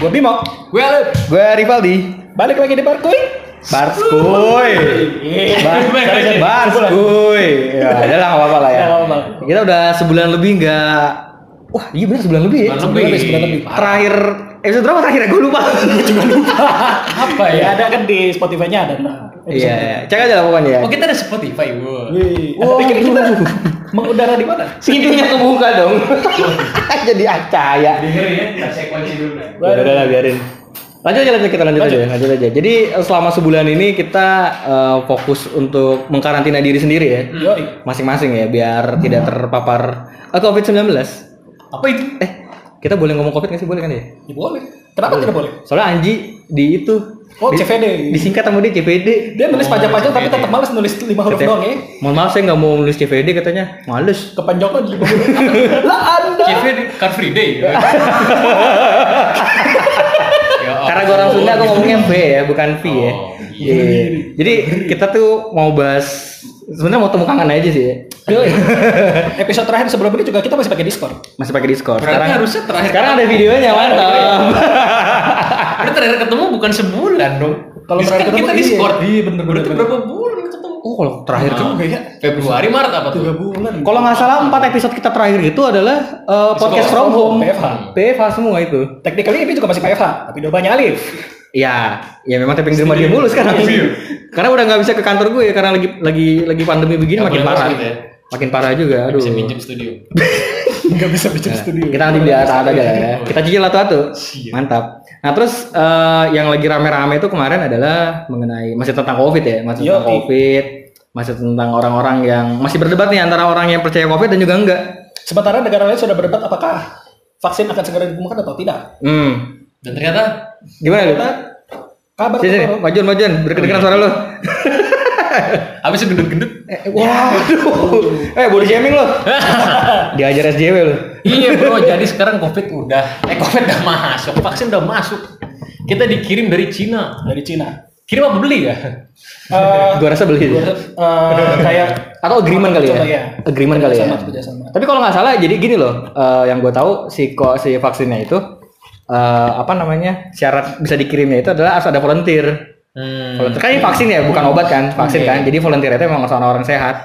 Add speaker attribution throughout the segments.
Speaker 1: Gue Bimo.
Speaker 2: Gue Alip.
Speaker 3: Gue Rivaldi.
Speaker 1: Balik lagi di Barkuy. Iya.
Speaker 3: Barskuy. Bar- harusnya Barskuy. Ya, udah lah, nggak apa-apa lah ya.
Speaker 1: Nggak apa-apa.
Speaker 3: Kita udah sebulan lebih nggak. Wah, iya benar sebulan lebih ya.
Speaker 2: Sebulan
Speaker 3: Sebulan
Speaker 2: lebih.
Speaker 3: sebulan lebih. Terakhir episode berapa terakhir ya? Gue lupa.
Speaker 2: Apa
Speaker 1: Ya
Speaker 2: ya?
Speaker 1: ada kan di Spotify-nya ada. Nah,
Speaker 3: Iya, iya. cek aja lah pokoknya.
Speaker 2: Oh kita ada Spotify gue.
Speaker 1: Wih, Anda pikir kita kan? mengudara di mana?
Speaker 3: Pintunya kebuka dong. Jadi acaya.
Speaker 2: Dengerin ya, saya kunci dulu. Nah.
Speaker 3: Ya udah lah biarin. Lanjut aja lanjut kita lanjut, aja, lanjut aja. Jadi eh, selama sebulan ini kita eh, fokus untuk mengkarantina diri sendiri ya.
Speaker 1: Yoi.
Speaker 3: Masing-masing ya biar tidak terpapar eh, COVID-19.
Speaker 2: Apa itu?
Speaker 3: Eh, kita boleh ngomong COVID nggak sih? Boleh kan ya?
Speaker 1: Ya, boleh. Kenapa tidak boleh?
Speaker 3: Soalnya Anji di itu
Speaker 1: Oh,
Speaker 3: di-
Speaker 1: CVD.
Speaker 3: disingkat sama dia CVD.
Speaker 1: Dia nulis
Speaker 2: Oh,
Speaker 1: panjang-panjang tapi
Speaker 2: CVD.
Speaker 1: tetap males nulis lima huruf
Speaker 3: Katanya,
Speaker 1: doang ya.
Speaker 3: Mohon maaf saya nggak mau nulis CVD katanya. Males.
Speaker 1: Kepanjangan lima huruf. Lah Anda.
Speaker 2: Kevin Car Free Day. ya
Speaker 1: Oh.
Speaker 2: Allah.
Speaker 3: Karena gue orang Sunda gue ngomongnya V ya, bukan V ya.
Speaker 2: Oh,
Speaker 3: Iya. Jadi kita tuh mau bahas sebenarnya mau temu kangen aja sih ya.
Speaker 1: Yoi. Episode terakhir sebelum ini juga kita masih pakai Discord.
Speaker 3: Masih pakai Discord.
Speaker 2: Berarti harusnya terakhir. Oh, iya.
Speaker 3: Sekarang ada videonya mantap.
Speaker 2: Berarti terakhir ketemu bukan sebulan dong.
Speaker 1: Kalau
Speaker 2: Discord
Speaker 1: terakhir ketemu,
Speaker 2: kita
Speaker 1: iya.
Speaker 2: Discord.
Speaker 1: Iya, bener,
Speaker 2: Berarti
Speaker 1: bener,
Speaker 2: berapa bulan ketemu?
Speaker 3: Oh, kalau terakhir tuh.
Speaker 1: Juga ya.
Speaker 2: Februari Maret apa tuh?
Speaker 1: Tiga bulan.
Speaker 3: Kalau nggak salah empat episode kita terakhir itu adalah eh, podcast
Speaker 2: Podcast
Speaker 3: from home.
Speaker 1: PFH.
Speaker 3: PFH semua itu.
Speaker 1: Technically ini juga masih PFH, tapi udah banyak alif.
Speaker 3: Ya, ya memang tapping di rumah dia mulu sekarang.
Speaker 2: Iya,
Speaker 3: karena udah nggak bisa ke kantor gue ya, karena lagi lagi lagi pandemi begini
Speaker 2: Nggak
Speaker 3: makin
Speaker 2: boleh
Speaker 3: parah.
Speaker 2: masuk gitu ya.
Speaker 3: Makin parah juga, aduh.
Speaker 2: Bisa minjem studio.
Speaker 1: Enggak bisa bicara studio.
Speaker 3: Kita nanti biar ada aja
Speaker 1: Iya.
Speaker 3: lah ya. Kita cicil satu-satu. Mantap. Nah terus eh, yang lagi rame-rame itu kemarin adalah mengenai masih tentang covid ya, masih tentang
Speaker 1: Yoi.
Speaker 3: covid, masih tentang orang-orang yang masih berdebat nih antara orang yang percaya covid dan juga enggak.
Speaker 1: Sementara negara lain sudah berdebat apakah vaksin akan segera ditemukan atau tidak.
Speaker 3: Hmm.
Speaker 2: Dan ternyata
Speaker 3: Gimana lu?
Speaker 1: Kita kabar
Speaker 3: Sini, sini.
Speaker 1: terbaru.
Speaker 3: majuin, majuin. Berkedengaran suara lu.
Speaker 2: habis gendut-gendut.
Speaker 3: Eh, Waduh. Eh, body shaming lu. Diajar SJW lu.
Speaker 2: Iya bro, jadi sekarang covid udah, eh covid udah masuk, vaksin udah masuk. Kita dikirim dari Cina.
Speaker 1: dari Cina.
Speaker 2: Kirim apa beli ya?
Speaker 1: Eh,
Speaker 3: Gua rasa beli.
Speaker 1: gua- eh, kayak
Speaker 3: Atau agreement kali
Speaker 1: Contoh, iya.
Speaker 3: ya? Agreement kali ya?
Speaker 1: Kerjasama, kerjasama.
Speaker 3: Tapi kalau nggak salah, jadi gini loh, eh, yang gue tahu si ko- si vaksinnya itu eh, apa namanya syarat bisa dikirimnya itu adalah harus ada volunteer.
Speaker 2: Hmm.
Speaker 3: Volunteer kan ini vaksin ya, bukan obat kan, vaksin kan. Jadi volunteer itu memang harus orang-orang sehat,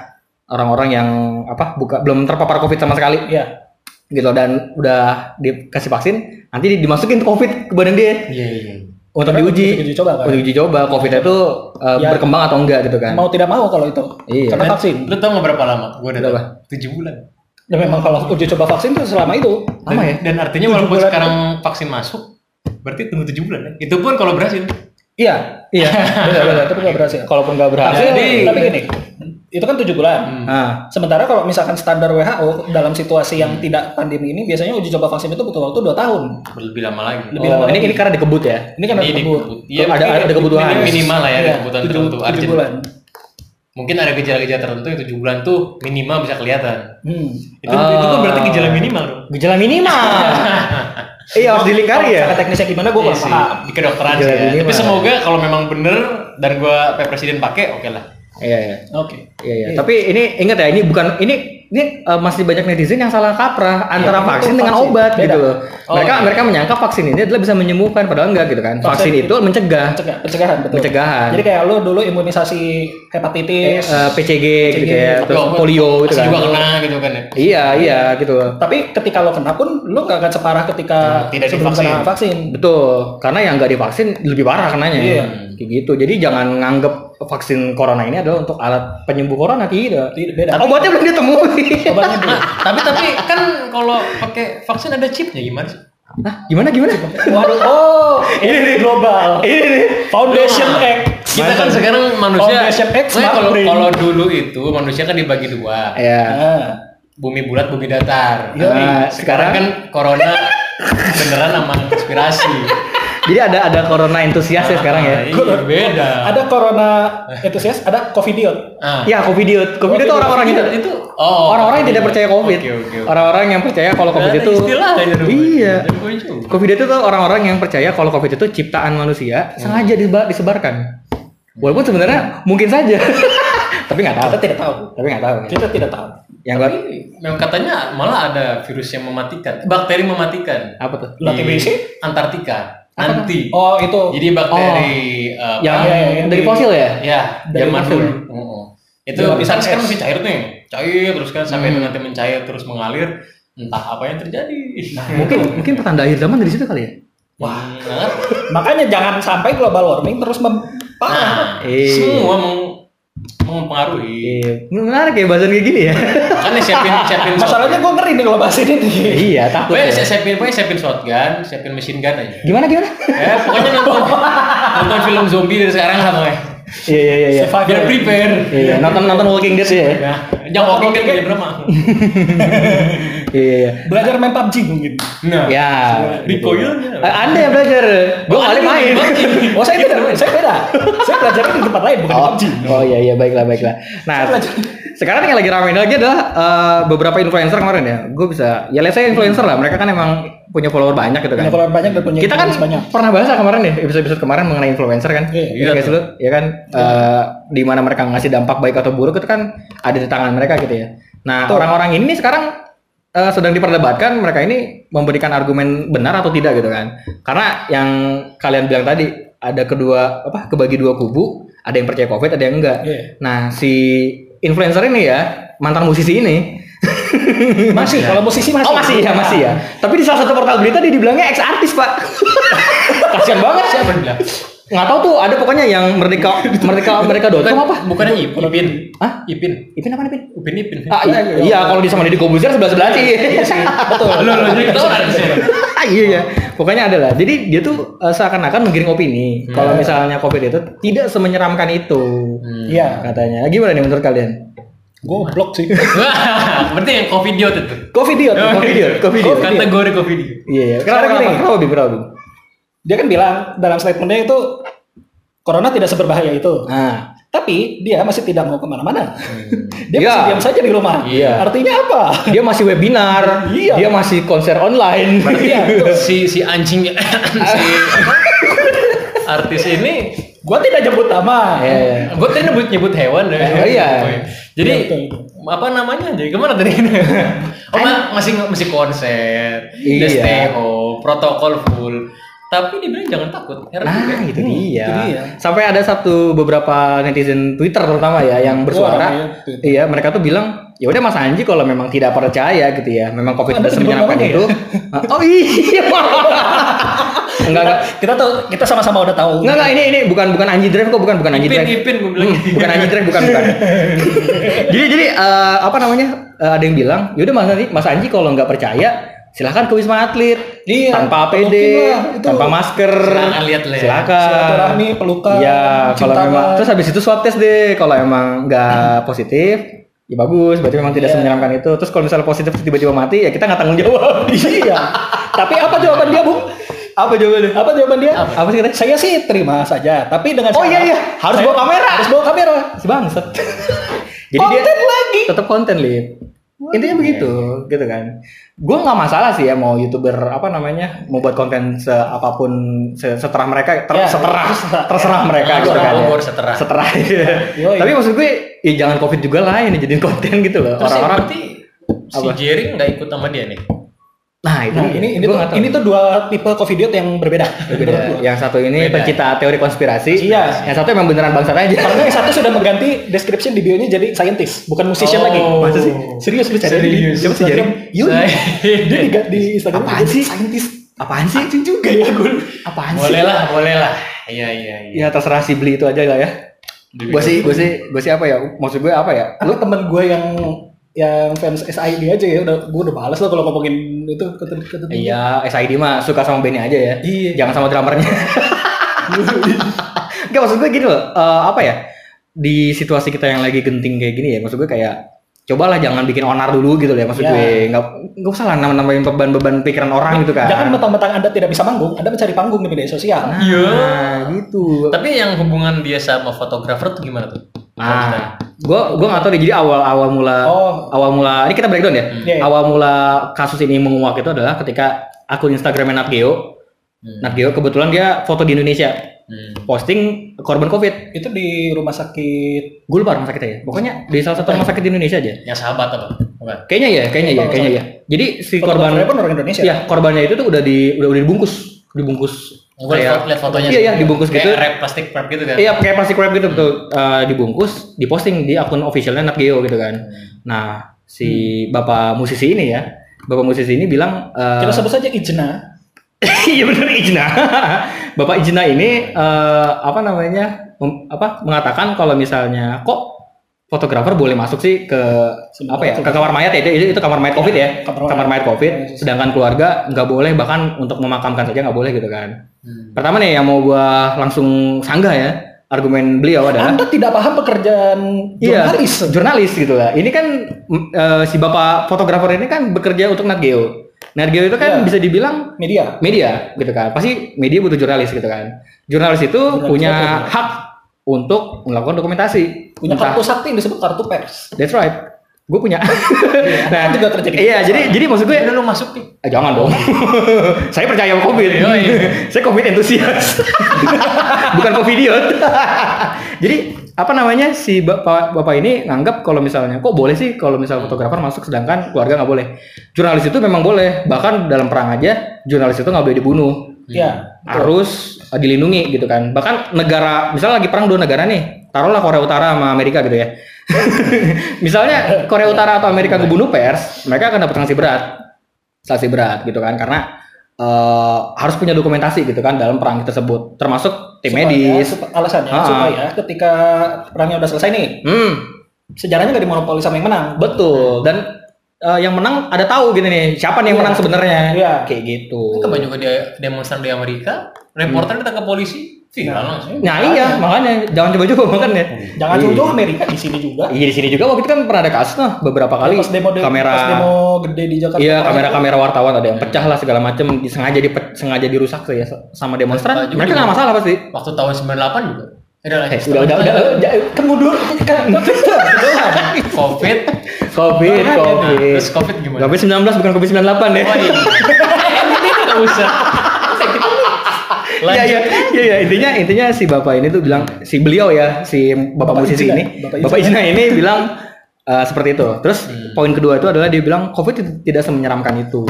Speaker 3: orang-orang yang apa buka belum terpapar covid sama sekali
Speaker 1: iya.
Speaker 3: gitu loh. dan udah dikasih vaksin, nanti di- dimasukin covid ke badan dia
Speaker 2: Iya iya.
Speaker 3: untuk
Speaker 1: Karena
Speaker 3: diuji,
Speaker 1: untuk diuji coba kan?
Speaker 3: Untuk diuji coba covid itu eh,
Speaker 1: Ya.
Speaker 3: berkembang atau enggak gitu kan?
Speaker 1: Mau tidak mau kalau itu.
Speaker 3: Iya.
Speaker 1: Karena vaksin.
Speaker 2: Lu tau nggak berapa lama? Gue udah
Speaker 3: Berapa?
Speaker 2: tahu. Tujuh bulan.
Speaker 1: Ya memang kalau uji coba vaksin itu selama itu.
Speaker 3: Lama ya?
Speaker 2: Dan artinya
Speaker 1: Tujuh
Speaker 2: walaupun
Speaker 1: bulan.
Speaker 2: sekarang vaksin masuk, berarti tunggu tujuh bulan. Ya? Itu pun kalau berhasil.
Speaker 3: Iya, iya.
Speaker 1: Benar, benar, tapi nggak berhasil.
Speaker 3: Kalaupun nggak berhasil,
Speaker 1: Vaksin,
Speaker 2: Jadi-
Speaker 1: tapi gini, itu kan tujuh bulan.
Speaker 2: Hmm.
Speaker 3: ah,
Speaker 1: Sementara kalau misalkan standar WHO dalam situasi
Speaker 2: Hmm.
Speaker 1: yang tidak pandemi ini biasanya uji coba vaksin itu butuh waktu 2 tahun.
Speaker 2: Lebih lama lagi.
Speaker 1: Lebih
Speaker 3: Oh,
Speaker 1: lama
Speaker 3: ini
Speaker 1: lagi.
Speaker 3: ini karena dikebut ya.
Speaker 1: Ini kan ada
Speaker 2: Ini
Speaker 1: kebut.
Speaker 2: dikebut. Iya,
Speaker 3: Ada-
Speaker 2: mungkin
Speaker 3: ada kebutuhan.
Speaker 2: minim- Minimal lah ya, ada
Speaker 1: Iya,
Speaker 2: kebutuhan
Speaker 1: tujuh-
Speaker 2: tertentu.
Speaker 1: tujuh
Speaker 2: Urgent.
Speaker 1: bulan.
Speaker 2: Mungkin ada gejala-gejala tertentu yang tujuh bulan tuh minimal bisa kelihatan.
Speaker 1: Hmm.
Speaker 2: Itu itu kan berarti gejala minimal dong.
Speaker 3: Gejala minimal. iya harus dilingkari ya.
Speaker 1: Cara teknisnya gimana gue
Speaker 2: Iya
Speaker 1: nggak
Speaker 2: sih,
Speaker 1: paham.
Speaker 2: di kedokteran sih
Speaker 3: Gejala
Speaker 2: ya. Tapi
Speaker 3: minimal.
Speaker 2: semoga kalau memang bener dan gua kayak presiden pakai, oke lah.
Speaker 3: Iya iya.
Speaker 1: Oke.
Speaker 3: Iya iya. Tapi ini ingat ya ini bukan ini ini eh, masih banyak netizen yang salah kaprah antara
Speaker 1: itu
Speaker 3: Iya, vaksin dengan
Speaker 1: vaksin.
Speaker 3: obat
Speaker 1: Beda.
Speaker 3: gitu loh.
Speaker 2: Oh,
Speaker 3: mereka
Speaker 2: iya.
Speaker 3: mereka menyangka vaksin ini adalah bisa menyembuhkan padahal enggak gitu kan. Vaksin,
Speaker 1: Vaksin
Speaker 3: itu mencegah
Speaker 1: Pencegah- pencegahan betul.
Speaker 3: Pencegahan.
Speaker 1: Jadi kayak lu dulu imunisasi hepatitis,
Speaker 3: eh, PCG, gitu ya, terus
Speaker 2: Loh,
Speaker 3: polio gitu
Speaker 2: masih
Speaker 3: kan.
Speaker 2: juga kena gitu kan ya.
Speaker 3: Iya iya gitu loh.
Speaker 1: tapi ketika lo kena pun lo nggak akan separah ketika
Speaker 2: Hmm, tidak
Speaker 1: sebelum
Speaker 2: divaksin.
Speaker 1: kena vaksin.
Speaker 3: Betul, karena yang nggak divaksin lebih parah kenanya.
Speaker 1: Iya.
Speaker 3: Kayak gitu. Jadi jangan nganggep vaksin corona ini adalah untuk alat penyembuh corona tidak.
Speaker 1: Tidak beda.
Speaker 3: Obatnya belum ditemuin.
Speaker 1: Obatnya dulu.
Speaker 2: Nah, tapi tapi kan kalau pakai vaksin ada chipnya gimana sih?
Speaker 3: Hah, gimana gimana?
Speaker 1: Waduh, oh ini nih global.
Speaker 3: Ini nih.
Speaker 1: Foundation
Speaker 2: Nah,
Speaker 1: Act.
Speaker 2: Kita kan sekarang manusia.
Speaker 1: Foundation X,
Speaker 2: Nah,
Speaker 1: Smart
Speaker 2: kalau
Speaker 1: Brain.
Speaker 2: kalau dulu itu manusia kan dibagi dua,
Speaker 3: Ya.
Speaker 1: Nah.
Speaker 2: bumi bulat, bumi datar.
Speaker 3: Yoi.
Speaker 2: Nah, sekarang kan corona beneran sama konspirasi.
Speaker 3: Jadi ada ada corona entusias ya sekarang ya.
Speaker 2: Iya, beda.
Speaker 1: ada corona entusias, ada covidiot.
Speaker 2: Ah.
Speaker 3: Ya, covidiot. Covidiot itu orang-orang itu
Speaker 2: itu oh,
Speaker 3: gitu. orang-orang yang tidak percaya covid.
Speaker 2: Oke, oke, oke.
Speaker 3: Orang-orang yang percaya kalau covid
Speaker 2: Ada
Speaker 3: itu
Speaker 2: istilahnya dulu.
Speaker 3: Iya.
Speaker 2: Jadi gua juga.
Speaker 3: Covid itu tuh orang-orang yang percaya kalau Covid itu ciptaan manusia sengaja diba- disebarkan. Walaupun sebenarnya mungkin saja. Tapi nggak tahu.
Speaker 1: Kita tidak tahu.
Speaker 3: Tapi nggak tahu.
Speaker 1: Kita tidak tahu.
Speaker 3: Yang gua
Speaker 2: Memang katanya malah ada virus yang mematikan, bakteri mematikan
Speaker 3: apa tuh?
Speaker 2: Iya.
Speaker 1: Lah, TBC?
Speaker 2: Antartika. anti.
Speaker 1: Oh itu.
Speaker 2: Jadi bakteri eh,
Speaker 3: Oh. yang
Speaker 1: iya, iya,
Speaker 3: dari
Speaker 1: iya.
Speaker 3: fosil ya?
Speaker 2: ya
Speaker 3: Dari
Speaker 2: zaman
Speaker 3: fosil.
Speaker 2: dulu. Heeh. Itu
Speaker 1: Zaman
Speaker 2: bisa
Speaker 1: es.
Speaker 2: kan masih cair nih. Cair terus kan sampai
Speaker 3: Hmm.
Speaker 2: nanti mencair terus mengalir entah apa yang terjadi.
Speaker 3: Nah,
Speaker 2: Hmm,
Speaker 3: Mungkin mungkin pertanda akhir zaman dari situ kali ya.
Speaker 2: Wah, bener.
Speaker 1: Makanya jangan sampai global warming terus mem parah.
Speaker 2: Nah,
Speaker 3: Eh.
Speaker 2: semua meng- mempengaruhi.
Speaker 3: Iya. Menarik ya bahasan kayak gini ya.
Speaker 2: Makanya Kan siapin siapin
Speaker 1: Masalahnya gue ngeri nih kalau bahas ini. nih.
Speaker 3: iya, takut.
Speaker 2: Pokoknya
Speaker 3: Ya.
Speaker 2: siapin, pokoknya siapin shotgun, siapin machine gun aja.
Speaker 3: Gimana gimana?
Speaker 2: Ya, pokoknya nonton, nonton film zombie dari sekarang lah pokoknya.
Speaker 3: Iya iya iya, iya.
Speaker 2: Biar prepare.
Speaker 3: Iya, nonton nonton Walking Dead ya.
Speaker 2: Ya, jangan walking dead jadi drama.
Speaker 3: Iya iya, iya.
Speaker 1: Belajar main PUBG mungkin.
Speaker 2: Nah,
Speaker 3: Ya.
Speaker 2: recoilnya.
Speaker 3: Eh, Anda yang belajar. Gua kali main.
Speaker 1: Oh saya beda, saya beda. saya belajarnya di tempat lain bukan di
Speaker 3: Oh,
Speaker 1: PUBG.
Speaker 3: oh iya iya baiklah baiklah. Nah, sekarang yang lagi ramai lagi adalah eh, beberapa influencer kemarin ya. Gue bisa ya let's say influencer lah. Mereka kan emang punya follower banyak gitu kan.
Speaker 1: Punya follower banyak dan punya
Speaker 3: kita kan
Speaker 1: influence banyak.
Speaker 3: pernah bahas lah kemarin ya episode-episode kemarin mengenai influencer kan
Speaker 1: Iya,
Speaker 2: iya.
Speaker 3: guys lu ya kan eh, di mana mereka ngasih dampak baik atau buruk itu kan ada di tangan mereka gitu ya nah
Speaker 1: Betul.
Speaker 3: orang-orang ini nih sekarang eh, sedang diperdebatkan mereka ini memberikan argumen benar atau tidak gitu kan karena yang kalian bilang tadi ada kedua apa kebagi dua kubu ada yang percaya covid ada yang enggak
Speaker 1: Iya.
Speaker 3: nah si influencer ini ya mantan musisi ini
Speaker 1: Masih, kalau musisi masih.
Speaker 3: Oh masih ya, masih ya. Tapi di salah satu portal berita dia dibilangnya ex artis pak. Kasian banget sih.
Speaker 2: Siapa yang bilang?
Speaker 3: Nggak tahu tuh ada pokoknya yang merdeka merdeka merdeka dot com apa?
Speaker 2: Bukannya Ip- Ipin.
Speaker 3: Hah?
Speaker 2: Ipin.
Speaker 3: Ipin apa Ipin?
Speaker 2: Upin Ipin.
Speaker 3: Ah, i-
Speaker 1: Iya, iya.
Speaker 3: iya kalau di sama Deddy Kobuzier sebelah sebelah sih.
Speaker 1: Betul.
Speaker 2: Lo lo jadi ketahuan harusnya.
Speaker 3: Ah, iya ya. Pokoknya adalah. Jadi dia tuh eh, seakan-akan menggiring opini kalau
Speaker 1: Hmm.
Speaker 3: misalnya covid itu tidak semenyeramkan itu
Speaker 1: Iya.
Speaker 3: katanya. Gimana nih menurut kalian?
Speaker 1: Gue blok sih.
Speaker 2: Wah, Berarti yang covid idiot itu.
Speaker 1: Covid dia.
Speaker 3: Covid idiot, covid idiot.
Speaker 2: Kategori covid idiot.
Speaker 3: Iya, iya. Kenapa
Speaker 1: Oh, iya. Sekarang
Speaker 3: kenapa?
Speaker 1: gini.
Speaker 3: Kenapa Bim? Kenapa Bim?
Speaker 1: Dia kan bilang dalam statementnya itu corona tidak seberbahaya itu.
Speaker 3: Nah,
Speaker 1: Tapi dia masih tidak mau kemana-mana. Dia
Speaker 3: Iya.
Speaker 1: masih diam saja di rumah.
Speaker 2: Iya.
Speaker 1: Artinya apa?
Speaker 3: dia masih webinar,
Speaker 1: Iya.
Speaker 3: dia masih konser online.
Speaker 1: Iya. betul.
Speaker 2: Si si anjing si artis ini
Speaker 1: Gua tidak jemput nama.
Speaker 3: Iya, iya.
Speaker 2: gue tadi nyebut nyebut hewan deh.
Speaker 3: Eh, iya.
Speaker 2: Jadi
Speaker 1: Iya, betul,
Speaker 2: apa namanya? Jadi kemana tadi? oh ma- masih masih konser,
Speaker 3: Kan- Iya.
Speaker 2: udah stay home, protokol full. Tapi dibilang jangan takut. ya, kan? Heran juga.
Speaker 3: Nah, itu dia.
Speaker 1: hmm, itu dia.
Speaker 3: Sampai ada satu beberapa netizen Twitter terutama ya yang
Speaker 1: iya,
Speaker 3: bersuara.
Speaker 1: Twitter.
Speaker 3: iya, mereka tuh bilang, "Ya udah Mas Anji kalau memang tidak percaya gitu ya, memang Covid
Speaker 1: Anda
Speaker 3: sudah semenyeramkan
Speaker 1: sebelum
Speaker 3: itu."
Speaker 1: ya?
Speaker 3: oh iya. enggak enggak.
Speaker 1: Kita tahu kita sama-sama udah tahu.
Speaker 3: Enggak enggak ini ini bukan bukan Anji Drive kok, bukan bukan Anji
Speaker 2: Ipin
Speaker 3: Drive.
Speaker 2: Ipin gue bilang. gitu.
Speaker 3: Hmm, bukan Anji Drive, bukan bukan. jadi jadi eh, apa namanya? Eh, ada yang bilang, "Ya udah Mas Anji, Mas Anji kalau nggak percaya, silahkan ke Wisma Atlet."
Speaker 1: Iya,
Speaker 3: tanpa APD,
Speaker 1: mungkin lah, itu.
Speaker 3: tanpa masker.
Speaker 2: Silakan lihat lah ya.
Speaker 3: Silakan.
Speaker 1: Silaturahmi, pelukan, kan.
Speaker 3: Iya, kalau
Speaker 1: cium
Speaker 3: memang
Speaker 1: tangan.
Speaker 3: terus habis itu swab test deh. Kalau emang nggak positif, ya bagus. Berarti memang tidak
Speaker 1: Iya.
Speaker 3: semenyeramkan itu. Terus kalau misalnya positif terus tiba-tiba mati, ya kita nggak tanggung jawab.
Speaker 1: iya. Tapi apa jawaban dia, Bung?
Speaker 3: Apa jawabannya?
Speaker 1: Apa jawaban dia?
Speaker 3: Apa, apa sih kita?
Speaker 1: Saya sih terima saja, tapi dengan
Speaker 3: Oh
Speaker 1: syarat-
Speaker 3: iya iya, harus
Speaker 1: Saya-
Speaker 3: bawa kamera.
Speaker 1: Harus bawa kamera.
Speaker 3: Si bangset. Jadi
Speaker 1: Konten
Speaker 3: dia
Speaker 1: lagi.
Speaker 3: tetap konten lip. Intinya begitu, gitu kan. Gue nggak masalah sih ya mau youtuber apa namanya mau buat konten seapapun se- seterah mereka ter-
Speaker 1: Ya,
Speaker 3: seterah
Speaker 1: terserah.
Speaker 3: terserah mereka
Speaker 2: Ah,
Speaker 3: gitu kan.
Speaker 2: orang
Speaker 3: ya.
Speaker 2: Bogor seterah.
Speaker 3: Seterah. iya.
Speaker 1: Yoi.
Speaker 3: Tapi maksud gue ya jangan covid juga lah ini jadiin konten gitu loh
Speaker 2: Terus
Speaker 3: orang-orang.
Speaker 2: berarti si
Speaker 3: Apa?
Speaker 2: Jering nggak ikut sama dia nih.
Speaker 3: Nah itu
Speaker 1: Nah,
Speaker 3: dia.
Speaker 1: ini
Speaker 3: Gua
Speaker 1: ini tuh,
Speaker 3: nggak tahu.
Speaker 1: ini tuh dua tipe covidiot yang berbeda.
Speaker 3: Beda.
Speaker 1: Menurut gua.
Speaker 3: Yang satu ini
Speaker 2: Beda.
Speaker 3: pencipta teori konspirasi.
Speaker 1: Iya.
Speaker 3: Yang satu emang beneran bangsa aja.
Speaker 1: Karena yang satu sudah mengganti description di bio-nya jadi scientist, bukan musician
Speaker 2: Oh.
Speaker 1: lagi.
Speaker 2: Masa sih?
Speaker 1: Serius lu cari di-
Speaker 2: Serius.
Speaker 1: di
Speaker 3: Siapa sih Jering?
Speaker 1: Iya.
Speaker 2: Saya-
Speaker 1: Dia di, di Instagram
Speaker 3: Apaan sih?
Speaker 1: scientist.
Speaker 3: Apaan sih?
Speaker 1: Anjing juga ya gue.
Speaker 3: Apaan sih?
Speaker 2: Boleh lah, boleh lah. Iya iya iya.
Speaker 3: Ya terserah si beli itu aja lah ya.
Speaker 1: Iya,
Speaker 3: Gue sih, gue sih, gue sih apa ya? Maksud gue apa ya?
Speaker 1: Lu temen gue yang yang fans SID aja ya udah gue udah males lah kalau ngomongin itu keten- keten-
Speaker 3: Iya, SID mah suka sama bandnya aja ya.
Speaker 1: Iya.
Speaker 3: Jangan sama drummernya. Iya. Enggak maksud gue gini loh, eh, apa ya? Di situasi kita yang lagi genting kayak gini ya, maksud gue kayak cobalah jangan bikin onar dulu gitu loh ya maksud
Speaker 1: Iya.
Speaker 3: gue. Enggak enggak usah lah nambahin beban-beban pikiran orang gitu kan.
Speaker 1: Jangan mentang-mentang Anda tidak bisa manggung, Anda mencari panggung di media
Speaker 3: Nah,
Speaker 1: sosial.
Speaker 2: Iya.
Speaker 3: gitu.
Speaker 2: Tapi yang hubungan dia sama fotografer tuh gimana tuh?
Speaker 3: Nah, gue gue nggak tahu deh. Jadi awal awal mula
Speaker 1: Oh.
Speaker 3: awal mula ini kita breakdown ya.
Speaker 2: Hmm.
Speaker 1: Iya, iya.
Speaker 3: Awal mula kasus ini menguak itu adalah ketika akun Instagramnya Nat Geo.
Speaker 2: Hmm.
Speaker 3: Nat Geo kebetulan dia foto di Indonesia
Speaker 2: Hmm.
Speaker 3: posting korban COVID.
Speaker 1: Itu di rumah sakit
Speaker 3: Gue lupa rumah sakitnya ya. Pokoknya di salah satu rumah sakit di Indonesia aja.
Speaker 2: Yang sahabat apa? Bukan.
Speaker 3: Kayaknya ya, kayaknya ya, kayaknya ya. Jadi si
Speaker 1: fotografernya
Speaker 3: korban Iya.
Speaker 1: pun orang Indonesia.
Speaker 3: ya korbannya itu tuh udah di udah udah dibungkus, dibungkus
Speaker 2: Gue liat, liat fotonya
Speaker 3: Iya, iya, dibungkus gitu.
Speaker 2: Kayak wrap plastik wrap gitu kan.
Speaker 3: Iya pakai plastik wrap gitu betul Eh, dibungkus, diposting di akun officialnya Nat Geo gitu kan. Nah si
Speaker 2: Hmm.
Speaker 3: bapak musisi ini ya, bapak musisi ini bilang eh,
Speaker 1: Kita sebut saja Ijna.
Speaker 3: Iya benar Ijna. Bapak Ijna ini eh, apa namanya? mem- apa mengatakan kalau misalnya kok fotografer boleh masuk sih ke
Speaker 1: Semua
Speaker 3: apa ya? Ke
Speaker 1: fotografer.
Speaker 3: kamar mayat ya itu, itu- itu kamar mayat Covid ya.
Speaker 1: Iya, kamar mayat. Iya,
Speaker 3: Kamar mayat Covid. Sedangkan keluarga nggak boleh bahkan untuk memakamkan saja nggak boleh gitu kan.
Speaker 1: Hmm.
Speaker 3: Pertama nih yang mau gua langsung sanggah ya. Argumen beliau adalah
Speaker 1: Anda tidak paham pekerjaan Ah, jurnalis.
Speaker 3: Iya, jurnalis gitu lah. Ini kan mm, eh, si bapak fotografer ini kan bekerja untuk Nat Geo. Nat Geo itu kan
Speaker 1: Iya.
Speaker 3: bisa dibilang
Speaker 1: Media.
Speaker 3: media gitu kan pasti media butuh jurnalis gitu kan jurnalis itu punya
Speaker 1: apa?
Speaker 3: hak untuk melakukan dokumentasi
Speaker 1: Punya
Speaker 3: Entah-
Speaker 1: kartu sakti yang disebut kartu pers.
Speaker 3: that's right gue punya
Speaker 1: Kan
Speaker 3: nah
Speaker 1: juga terjadi.
Speaker 3: iya jadi jadi maksud gue
Speaker 2: Udah lu masuk nih.
Speaker 3: eh, jangan dong saya percaya sama covid
Speaker 2: Iya, iya.
Speaker 3: saya covid entusias bukan covidiot jadi apa namanya si bapak bapak ini nganggap kalau misalnya kok boleh sih kalau misal fotografer masuk sedangkan keluarga nggak boleh jurnalis itu memang boleh bahkan dalam perang aja jurnalis itu nggak boleh dibunuh
Speaker 1: Iya.
Speaker 3: harus uh, dilindungi gitu kan bahkan negara misalnya lagi perang dua negara nih taruhlah Korea Utara sama Amerika gitu ya misalnya Korea Utara atau Amerika kebunuh pers mereka akan dapat sanksi berat sanksi berat gitu kan karena uh, harus punya dokumentasi gitu kan dalam perang tersebut termasuk tim
Speaker 1: Supaya-
Speaker 3: medis
Speaker 1: sup- alasannya
Speaker 3: Ah.
Speaker 1: supaya ketika perangnya udah selesai nih,
Speaker 3: hmm,
Speaker 1: sejarahnya nggak dimonopoli sama yang menang.
Speaker 3: betul dan uh, yang menang ada tahu gitu nih siapa nih yang
Speaker 1: Iya.
Speaker 3: menang sebenarnya
Speaker 1: Iya.
Speaker 3: kayak gitu
Speaker 2: Kebanyakan Kan dia demonstran di Amerika, reporter ditangkap polisi, viral langsung.
Speaker 3: Hmm. nah iya makanya jangan coba-coba makanya
Speaker 1: Jangan
Speaker 3: Iya.
Speaker 1: jauh-jauh Amerika di sini juga.
Speaker 3: Iya di sini juga waktu itu kan pernah ada kasus nah beberapa kali
Speaker 1: Iya, Pas demo
Speaker 3: kamera
Speaker 1: pas demo gede di Jakarta.
Speaker 3: iya kamera-kamera wartawan ada yang pecah lah segala macem sengaja di sengaja dirusak sih ya sama demonstran
Speaker 2: Baju
Speaker 3: mereka
Speaker 2: juga.
Speaker 3: nggak masalah pasti
Speaker 2: Waktu tahun 98 juga. Ada lah.
Speaker 3: Eh, udah udah udah udah, kan mundur kan
Speaker 2: Covid.
Speaker 3: covid
Speaker 2: Nah,
Speaker 3: covid
Speaker 2: terus Covid gimana?
Speaker 3: covid 19 bukan covid 98 ya
Speaker 2: Oh, iya. Nggak usah.
Speaker 3: Iya
Speaker 2: Lanjut.
Speaker 3: iya iya iya. intinya intinya si bapak ini tuh bilang si beliau ya si bapak,
Speaker 1: Bapak
Speaker 3: musisi
Speaker 1: Ijna.
Speaker 3: ini
Speaker 1: Bapak
Speaker 3: bapak,
Speaker 1: Ijna.
Speaker 3: Ijna ini bilang eh, seperti itu. Terus poin kedua itu adalah dia bilang covid itu tidak semenyeramkan itu.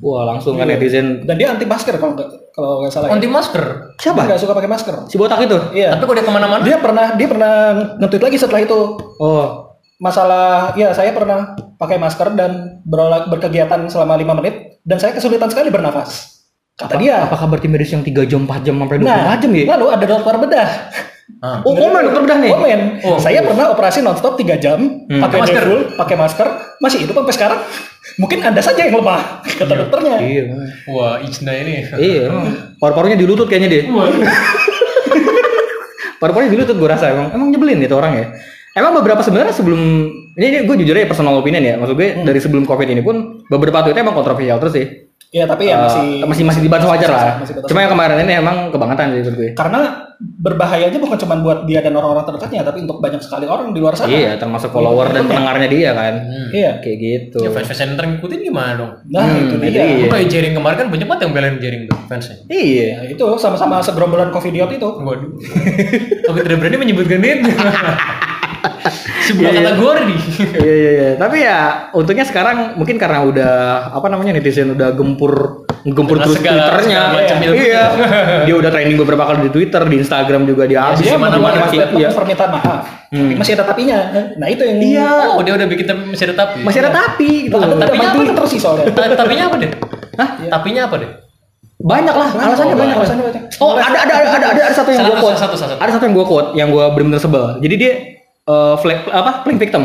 Speaker 3: Wah langsung kan netizen
Speaker 1: Dan dia anti masker kalau nggak kalau nggak
Speaker 3: iya.
Speaker 1: salah. ya.
Speaker 2: Anti masker.
Speaker 1: Dia
Speaker 3: siapa?
Speaker 1: nggak suka pakai masker.
Speaker 3: Si botak itu.
Speaker 1: Iya.
Speaker 2: Tapi kok dia kemana-mana?
Speaker 1: Dia pernah dia pernah nge-tweet lagi setelah itu.
Speaker 3: Oh
Speaker 1: masalah ya saya pernah pakai masker dan berolah, berkegiatan selama lima menit dan saya kesulitan sekali bernafas kata dia
Speaker 3: apakah berarti medis yang 3 jam 4 jam sampai 24
Speaker 1: nah
Speaker 3: jam ya?
Speaker 1: lalu ada dokter bedah
Speaker 2: Ah.
Speaker 3: Oh komen dokter bedah nih.
Speaker 1: komen
Speaker 2: Oh.
Speaker 1: saya pernah operasi nonstop 3 jam
Speaker 3: Hmm.
Speaker 1: pakai
Speaker 2: Pakai masker.
Speaker 1: masker pakai masker masih hidup sampai sekarang mungkin anda saja yang lemah kata dokternya
Speaker 3: Iya.
Speaker 2: Wah, Ijna ini.
Speaker 3: Iya. emang. Paru-parunya di lutut kayaknya deh. Paru-parunya di lutut gue rasa emang emang nyebelin itu orang ya. Emang beberapa sebenarnya sebelum ini, ini gue jujur aja personal opinion ya. Maksud gue dari sebelum covid ini pun beberapa tweetnya emang kontroversial terus sih.
Speaker 1: ya tapi ya
Speaker 3: Eh,
Speaker 1: masih
Speaker 3: masih masih dibantu wajar lah.
Speaker 1: masih batas
Speaker 3: Cuma yang kemarin ini emang kebangetan sih menurut gue.
Speaker 1: karena berbahayanya bukan cuma buat dia dan orang-orang terdekatnya tapi untuk banyak sekali orang di luar sana
Speaker 3: Iya, termasuk follower dan pendengarnya dia kan.
Speaker 1: Iya.
Speaker 3: Kayak gitu.
Speaker 2: Ya fans fans yang ngikutin gimana dong?
Speaker 1: nah
Speaker 3: Hmm,
Speaker 1: itu
Speaker 3: itu
Speaker 1: dia
Speaker 3: Iya.
Speaker 2: Kayak Jering kemarin kan banyak banget yang belain Jering tuh fansnya.
Speaker 3: Iya.
Speaker 1: Ya, itu sama-sama segerombolan covidiot itu
Speaker 2: Waduh. Tapi tidak berani menyebutkan itu.
Speaker 3: Iya,
Speaker 2: Sebuah
Speaker 3: iya.
Speaker 2: kategori.
Speaker 3: Iya iya iya. Tapi ya untungnya sekarang mungkin karena udah apa namanya netizen udah gempur gempur
Speaker 2: Dengan
Speaker 3: terus
Speaker 2: segala-
Speaker 3: twitternya.
Speaker 2: segala macam
Speaker 3: Iya.
Speaker 2: ilmu.
Speaker 3: Iya. Dia udah trending beberapa kali di Twitter, di Instagram juga dia habis.
Speaker 1: dia
Speaker 2: Di
Speaker 1: mana
Speaker 2: mana-mana
Speaker 1: mana
Speaker 3: masih-
Speaker 1: statement
Speaker 3: iya.
Speaker 1: permintaan maaf
Speaker 3: Hmm.
Speaker 1: Tapi masih ada tapinya nah itu yang
Speaker 3: Iya.
Speaker 2: Oh, dia udah bikin tapi masih ada tapi.
Speaker 3: Masih ada tapi gitu.
Speaker 1: ada
Speaker 3: loh.
Speaker 1: tapinya apa
Speaker 3: Tapi-
Speaker 1: yang terus sih soalnya
Speaker 2: Ta- Tapinya apa deh?
Speaker 3: Hah?
Speaker 2: Tapinya apa deh?
Speaker 3: Banyak lah alasannya banyak
Speaker 2: Oh, banyak.
Speaker 3: alasannya banyak. Oh, ada ada ada ada, ada, ada satu yang
Speaker 2: Salah
Speaker 3: gua
Speaker 2: satu,
Speaker 3: quote.
Speaker 2: salah satu, salah satu.
Speaker 3: Ada satu yang gua quote yang gua benar-benar sebel. Jadi dia eh flag apa? Playing victim.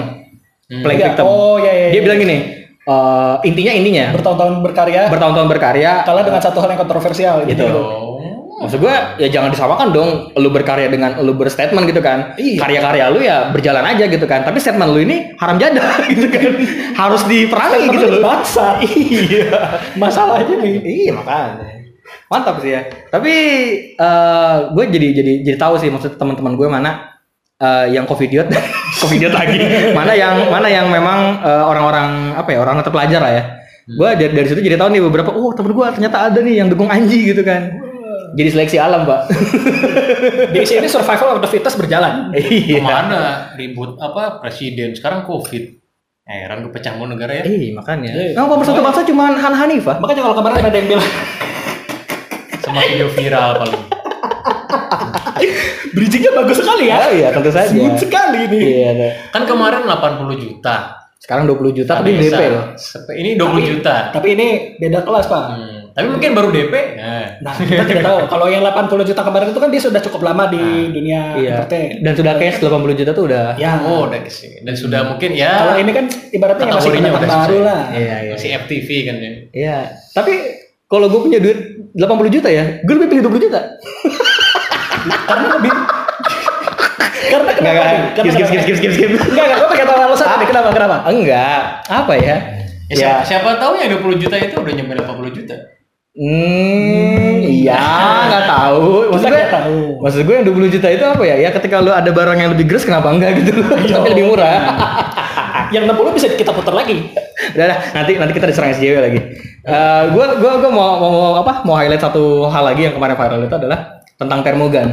Speaker 3: Playing
Speaker 1: Iya.
Speaker 3: victim.
Speaker 1: oh iya iya
Speaker 3: Dia bilang gini, eh intinya intinya
Speaker 1: bertahun-tahun berkarya
Speaker 3: bertahun-tahun berkarya
Speaker 1: kalah dengan satu hal yang kontroversial gitu
Speaker 3: gitu.
Speaker 2: Oh.
Speaker 3: Maksud gue ya jangan disamakan dong lu berkarya dengan lu berstatement gitu kan.
Speaker 1: Iya.
Speaker 3: Karya-karya lu ya berjalan aja gitu kan. Tapi statement lu ini haram jada gitu kan. Harus diperangi gitu loh.
Speaker 1: bangsa
Speaker 3: iya.
Speaker 1: masalahnya nih
Speaker 3: Iya makanya. Mantap sih ya. Tapi eh gue jadi jadi jadi tahu sih maksud teman-teman gue mana eh, yang covidiot, covidiot lagi. mana yang mana yang memang eh, orang-orang apa ya orang terpelajar lah ya.
Speaker 1: Hmm.
Speaker 3: Gue dari, dari situ jadi tahu nih beberapa. Oh temen gue ternyata ada nih yang dukung Anji gitu kan. Jadi seleksi alam pak.
Speaker 1: di sini survival of the fittest berjalan
Speaker 3: Iya.
Speaker 2: Kemana ribut apa presiden sekarang covid? Heran gue pecah mau negara ya.
Speaker 3: Eh makanya.
Speaker 1: Iya.
Speaker 3: Emang pemersatu bangsa cuman Han Hanifah.
Speaker 1: makanya kalau kemarin ada yang bilang
Speaker 2: sama video viral paling.
Speaker 1: Bridgingnya bagus sekali ya.
Speaker 3: Oh iya, tentu saja.
Speaker 1: Smooth sekali ini.
Speaker 3: Iya. ada.
Speaker 2: Kan kemarin 80 juta.
Speaker 3: Sekarang 20 juta tapi
Speaker 2: ADSL.
Speaker 3: DP loh.
Speaker 2: Sep- Ini 20 juta.
Speaker 1: Tapi ini beda kelas pak.
Speaker 2: Hmm, Tapi mungkin baru DP. Nah.
Speaker 1: Nah kita tidak tahu. Kalau yang 80 juta kemarin itu kan dia sudah cukup lama di
Speaker 2: Nah,
Speaker 1: dunia
Speaker 3: Iya.
Speaker 1: entertain.
Speaker 3: Dan sudah cash 80 juta tuh udah.
Speaker 1: Ya.
Speaker 2: Oh, udah kesini. Dan sudah mungkin
Speaker 1: Kalau
Speaker 2: ya
Speaker 1: ini kan ibaratnya masih
Speaker 2: Kategorinya
Speaker 1: pendatang
Speaker 2: udah
Speaker 1: baru
Speaker 2: sesuai.
Speaker 1: lah.
Speaker 3: Iya, iya.
Speaker 2: masih FTV kan ya.
Speaker 3: Iya. Tapi kalau gue punya duit 80 juta ya, gue lebih pilih 20 juta.
Speaker 1: Karena lebih. Karena
Speaker 3: Enggak,
Speaker 1: kenapa?
Speaker 3: enggak.
Speaker 1: nih? Karena
Speaker 3: Skip, skip,
Speaker 1: kenapa?
Speaker 3: skip, skip, skip, skip.
Speaker 1: Enggak, enggak. Gue pakai tahu alasan nih. Kenapa? Kenapa?
Speaker 3: Enggak. Apa ya?
Speaker 2: Ya, siapa, siapa tahu yang 20 juta itu udah nyampe 80 juta.
Speaker 3: Hmm, iya, nggak tahu. Maksud gue,
Speaker 1: Kita nggak tahu.
Speaker 3: maksud gue yang 20 juta itu apa ya? Ya ketika lu ada barang yang lebih gres kenapa enggak gitu loh. Tapi lebih murah.
Speaker 1: Yang 60 bisa kita putar lagi.
Speaker 3: Udah, dah, nanti nanti kita diserang SJW lagi. Eh, gue gua gua mau, mau mau apa? Mau highlight satu hal lagi yang kemarin viral itu adalah tentang termogan.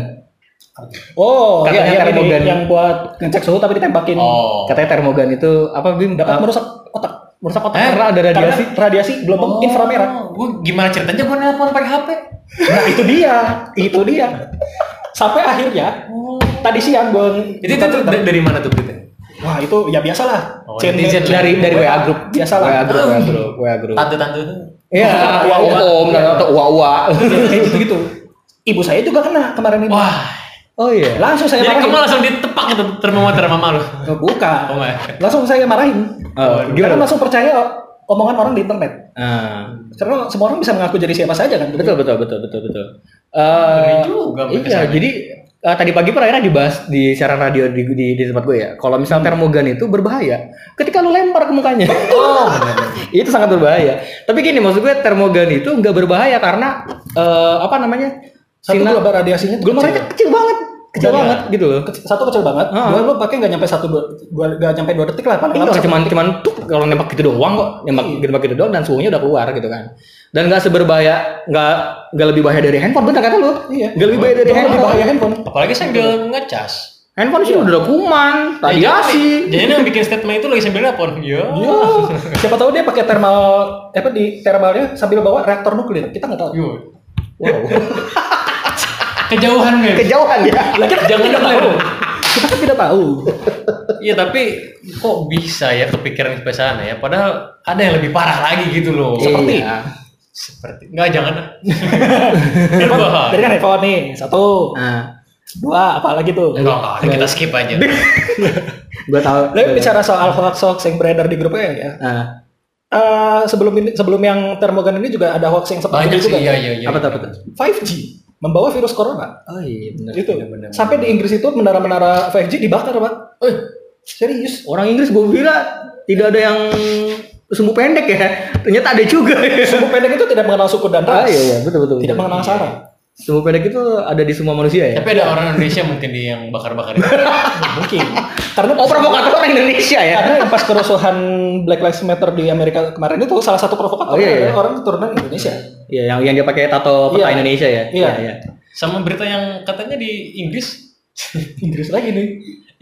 Speaker 1: Oh,
Speaker 3: Katanya
Speaker 1: iya, yang, ini,
Speaker 3: termogan.
Speaker 1: yang buat ngecek suhu tapi ditembakin.
Speaker 2: Oh.
Speaker 3: Katanya termogan itu apa Bim? Eh,
Speaker 1: Dapat
Speaker 3: Dapat
Speaker 1: merusak otak. Merusak otak.
Speaker 2: Eh, Oh.
Speaker 3: karena ada radiasi.
Speaker 1: Karena radiasi gelombang inframerah.
Speaker 2: Gue gimana ceritanya gue nelpon pakai HP?
Speaker 1: Nah, itu dia. Itu dia. Sampai akhirnya tadi siang gue
Speaker 2: Itu, itu, tuh dari mana tuh berita?
Speaker 1: Wah, itu ya biasalah.
Speaker 2: Oh,
Speaker 1: Chain-
Speaker 2: netizen.
Speaker 3: dari dari WA group.
Speaker 1: Biasa lah.
Speaker 3: WA group, WA group, WA group.
Speaker 2: Tante-tante itu.
Speaker 3: Iya,
Speaker 1: Uwa-uwa.
Speaker 3: om om atau uwa uwa.
Speaker 1: Kayak gitu-gitu. Ibu saya juga kena kemarin ini.
Speaker 2: Wah.
Speaker 3: Oh iya.
Speaker 1: Langsung saya
Speaker 2: Jadi kamu
Speaker 1: marahin.
Speaker 2: langsung ditepak itu termometer mama lu.
Speaker 1: Oh, Bukan.
Speaker 2: Oh enggak.
Speaker 1: Langsung saya marahin.
Speaker 3: Oh,
Speaker 1: Karena
Speaker 3: gimana?
Speaker 1: langsung percaya omongan orang di internet. Nah.
Speaker 3: Ah.
Speaker 1: Karena semua orang bisa mengaku jadi siapa saja kan.
Speaker 3: betul betul betul betul betul Eh,
Speaker 2: Ngeri juga
Speaker 3: iya
Speaker 2: kesannya.
Speaker 3: jadi eh, tadi pagi pun akhirnya dibahas di siaran radio di, di, di tempat gue ya kalau misal termogan itu berbahaya ketika lu lempar ke mukanya
Speaker 2: Oh, bener.
Speaker 3: itu sangat berbahaya tapi gini maksud gue termogan itu nggak berbahaya karena eh, apa namanya
Speaker 1: Satu
Speaker 3: sinar
Speaker 1: gelombang radiasinya tuh
Speaker 3: gelombangnya kecil banget kecil
Speaker 1: Iya.
Speaker 3: banget gitu loh
Speaker 1: kecil. satu kecil banget.
Speaker 3: Ah.
Speaker 1: Dua lu pakai nggak nyampe satu dua, dua nggak nyampe dua detik lah. Paling
Speaker 3: Iya,
Speaker 1: lama satu-
Speaker 3: cuman cuman tuh kalau nembak gitu doang kok, nembak nembak gitu doang dan suhunya udah keluar gitu kan. Dan nggak seberbahaya, nggak nggak lebih bahaya dari handphone, bener kata lu?
Speaker 1: Iya.
Speaker 3: Nggak lebih bahaya dari
Speaker 1: Cuma lebih
Speaker 3: handphone.
Speaker 1: bahaya handphone.
Speaker 2: Apalagi sambil ngecas.
Speaker 3: Handphone sih udah ada kuman,
Speaker 2: Ya,
Speaker 3: radiasi.
Speaker 2: Jadi jadi yang bikin statement itu lagi sambil nelpon. Iya.
Speaker 1: Iya. Siapa tahu dia pakai thermal apa di thermalnya sambil bawa reaktor nuklir. Kita nggak tahu.
Speaker 2: Iya.
Speaker 3: Wow.
Speaker 2: Kejauhan nih.
Speaker 3: Kejauhan ya.
Speaker 1: Lah kita
Speaker 2: Jangan
Speaker 1: tidak
Speaker 2: nuklir.
Speaker 1: tahu. Kita kan tidak tahu.
Speaker 2: Iya tapi kok bisa ya kepikiran ke sana ya? Padahal ada yang lebih parah lagi gitu loh.
Speaker 1: Seperti?
Speaker 3: Iya.
Speaker 2: Seperti nggak jangan. ah. Berbahaya.
Speaker 1: Dari kan handphone nih satu,
Speaker 3: Nah,
Speaker 1: dua, apa lagi tuh?
Speaker 2: Enggak, enggak, ini kita skip aja.
Speaker 3: gua tahu.
Speaker 1: Lalu bicara soal hoax hoax yang beredar di grupnya ya.
Speaker 3: Nah,
Speaker 1: Eh, sebelum ini, sebelum yang termogan ini juga ada hoax yang seperti
Speaker 2: Banyak
Speaker 1: itu
Speaker 2: sih,
Speaker 1: juga.
Speaker 2: iya, iya, iya.
Speaker 3: apa tuh apa tuh?
Speaker 1: 5G membawa virus corona.
Speaker 3: Oh iya benar.
Speaker 1: Itu. Sampai di Inggris itu menara-menara 5G dibakar, Pak. Eh, serius.
Speaker 3: Orang Inggris gua kira tidak ada yang sumbu pendek ya. Ternyata ada juga.
Speaker 1: Sumbu pendek itu tidak mengenal suku dan
Speaker 3: Ah
Speaker 1: ras.
Speaker 3: iya iya betul betul.
Speaker 1: Tidak
Speaker 3: betul.
Speaker 1: mengenal sarang.
Speaker 3: Sumbu pendek itu ada di semua manusia ya.
Speaker 2: Tapi ada orang Indonesia mungkin di yang bakar-bakar itu.
Speaker 1: Mungkin. Karena
Speaker 3: Oh provokator orang Indonesia ya.
Speaker 1: karena yang pas kerusuhan Black Lives Matter di Amerika kemarin itu salah satu provokator
Speaker 3: Oh, iya, iya.
Speaker 1: adalah orang keturunan Indonesia.
Speaker 3: Iya yang yang dia pakai tato peta
Speaker 1: Iya.
Speaker 3: Indonesia ya.
Speaker 1: Iya.
Speaker 2: Sama berita yang katanya di Inggris,
Speaker 1: Inggris lagi nih.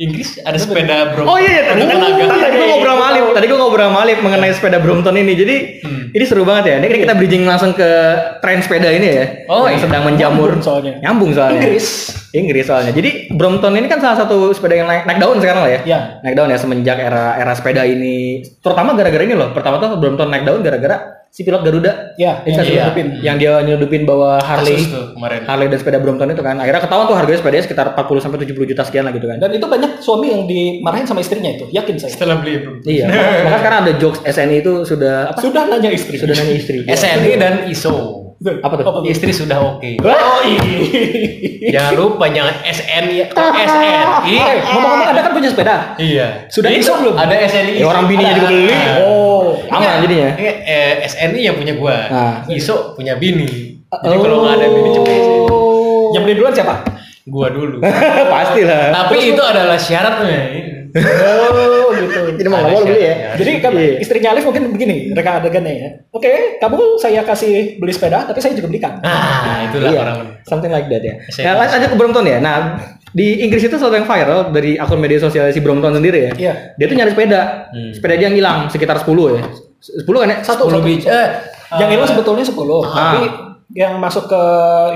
Speaker 2: Inggris ada sepeda bro.
Speaker 3: Oh iya, iya tadi,
Speaker 2: ada
Speaker 3: tadi,
Speaker 2: tenaga.
Speaker 3: tadi gue
Speaker 1: Iya,
Speaker 3: ngobrol
Speaker 1: iya,
Speaker 3: sama Alif, tadi gue ngobrol sama Alif mengenai sepeda Brompton ini. Jadi
Speaker 2: Hmm.
Speaker 3: ini seru banget ya. Ini kita bridging langsung ke tren sepeda ini ya.
Speaker 2: Oh,
Speaker 3: yang
Speaker 2: iya.
Speaker 3: sedang menjamur.
Speaker 1: Nyambung soalnya.
Speaker 3: Nyambung soalnya.
Speaker 1: Inggris.
Speaker 3: Inggris soalnya. Jadi Brompton ini kan salah satu sepeda yang naik, naik daun sekarang lah ya.
Speaker 1: Ya.
Speaker 3: Naik daun ya semenjak era era sepeda ini. Terutama gara-gara ini loh. Pertama tuh Brompton naik daun gara-gara si pilot Garuda. Yang,
Speaker 1: Ya, yang
Speaker 2: Iya.
Speaker 1: diselupin.
Speaker 3: yang dia nyelupin bawa Harley.
Speaker 2: Kasus tuh kemarin.
Speaker 3: Harley dan sepeda Brompton itu kan akhirnya ketahuan tuh harganya sepedanya sekitar 40 sampai 70 juta sekian lah gitu kan.
Speaker 1: Dan itu banyak suami yang dimarahin sama istrinya itu, yakin saya.
Speaker 2: Setelah beli bro.
Speaker 3: Iya, maka sekarang ada jokes SNI itu sudah apa?
Speaker 1: Sudah nanya istri.
Speaker 3: Sudah nanya istri.
Speaker 2: SNI E dan ISO.
Speaker 3: Apa tuh?
Speaker 2: Istri sudah oke.
Speaker 1: Oh, iya.
Speaker 2: Jangan lupa jangan ya. SNI atau SNI.
Speaker 1: Eh, ngomong-ngomong Anda kan punya sepeda?
Speaker 2: Iya.
Speaker 1: Sudah
Speaker 2: Jadi
Speaker 1: ISO belum?
Speaker 2: Ada SNI.
Speaker 3: Ya, orang bininya
Speaker 2: Ada.
Speaker 3: juga beli.
Speaker 2: Nah.
Speaker 1: Oh.
Speaker 3: Aman
Speaker 2: Iya.
Speaker 3: jadinya.
Speaker 2: Iya, eh, SNI yang punya gua.
Speaker 3: Nah.
Speaker 2: ISO punya bini.
Speaker 3: Oh.
Speaker 2: Jadi kalau nggak ada bini cuma SNI.
Speaker 1: Yang beli duluan siapa?
Speaker 2: Gua dulu.
Speaker 3: Pasti lah.
Speaker 2: Tapi itu adalah syaratnya.
Speaker 1: Oh, gitu.
Speaker 3: Jadi mau nggak mau beli ya.
Speaker 1: Jadi kan
Speaker 3: Iya.
Speaker 1: istrinya Alif mungkin begini, reka adegannya ya. Oke, kamu saya kasih beli kan? sepeda, tapi saya juga belikan.
Speaker 2: Nah, itulah
Speaker 3: Iya,
Speaker 2: orang.
Speaker 3: something like that ya.
Speaker 2: SNI.
Speaker 3: Nah, lanjut aja ke Brompton ya. Nah, di Inggris itu sesuatu yang viral dari akun media sosial si Brompton sendiri ya.
Speaker 1: Iya.
Speaker 3: Dia tuh nyari sepeda.
Speaker 2: Hmm.
Speaker 3: Sepeda dia yang hilang sekitar 10 ya. 10 kan ya?
Speaker 1: Satu,
Speaker 2: Sepuluh
Speaker 1: satu.
Speaker 2: biji. Eh,
Speaker 1: Yang
Speaker 2: eh,
Speaker 1: hilang sebetulnya 10, tapi yang masuk ke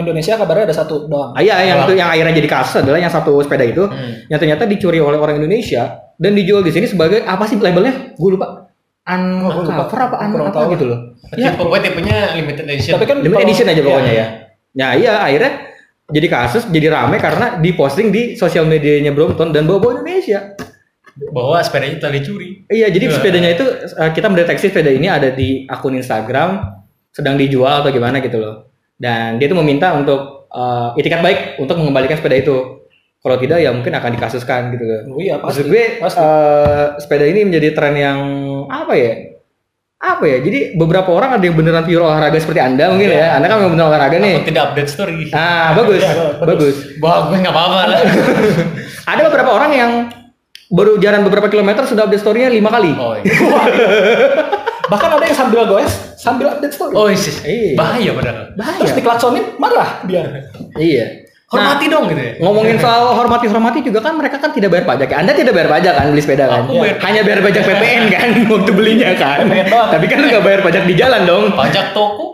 Speaker 1: Indonesia kabarnya ada satu doang.
Speaker 3: Ah, iya, yang
Speaker 2: Alam.
Speaker 3: itu yang akhirnya jadi kasus adalah yang satu sepeda itu
Speaker 2: Hmm.
Speaker 3: yang ternyata dicuri oleh orang Indonesia dan dijual di sini sebagai apa sih labelnya? Gue lupa. Un
Speaker 1: gua lupa.
Speaker 3: cover apa un
Speaker 1: Kurang
Speaker 3: apa
Speaker 1: tahu.
Speaker 3: gitu loh.
Speaker 2: Ya. Tipe, pokoknya tipenya limited edition.
Speaker 1: Tapi kan
Speaker 3: Limited
Speaker 1: kalau-
Speaker 3: edition aja
Speaker 1: iya.
Speaker 3: pokoknya ya. Nah iya akhirnya jadi kasus jadi rame karena diposting di sosial medianya Brompton dan bawa-bawa Indonesia.
Speaker 2: bahwa sepedanya telah dicuri.
Speaker 3: Iya jadi
Speaker 2: Iya.
Speaker 3: sepedanya itu eh, kita mendeteksi sepeda ini ada di akun Instagram sedang dijual atau gimana gitu loh. Dan dia itu meminta untuk eh, itikat baik untuk mengembalikan sepeda itu. Kalau tidak ya mungkin akan dikasuskan gitu loh.
Speaker 1: Oh iya
Speaker 3: Maksud
Speaker 1: pasti.
Speaker 3: gue
Speaker 1: pasti.
Speaker 3: eh, sepeda ini menjadi tren yang apa ya? Apa ya? Jadi beberapa orang ada yang beneran pure olahraga seperti Anda mungkin ya. Anda kan memang bener olahraga nih.
Speaker 2: Aku tidak update story.
Speaker 3: Ah, bagus.
Speaker 1: Ya, bagus.
Speaker 3: bagus.
Speaker 2: Wah, gue nggak apa-apa lah.
Speaker 3: Ada beberapa orang yang baru jalan beberapa kilometer sudah update story-nya 5 kali.
Speaker 2: Oh, iya.
Speaker 1: Bahkan ada yang sambil goes, sambil update story.
Speaker 2: oh iya. sis.
Speaker 3: Iya.
Speaker 2: bahaya padahal.
Speaker 3: Bahaya.
Speaker 1: Terus diklaksonin marah dia.
Speaker 3: Iya. Nah,
Speaker 2: Hormati dong gitu ya.
Speaker 3: ngomongin soal hormati-hormati juga kan mereka kan tidak bayar pajak ya. Anda tidak bayar pajak kan beli sepeda kan?
Speaker 2: Aku bayar-
Speaker 3: Hanya bayar pajak PPN kan waktu belinya kan.
Speaker 1: PPN doang.
Speaker 3: Tapi kan nggak bayar pajak di jalan dong.
Speaker 2: Pajak toko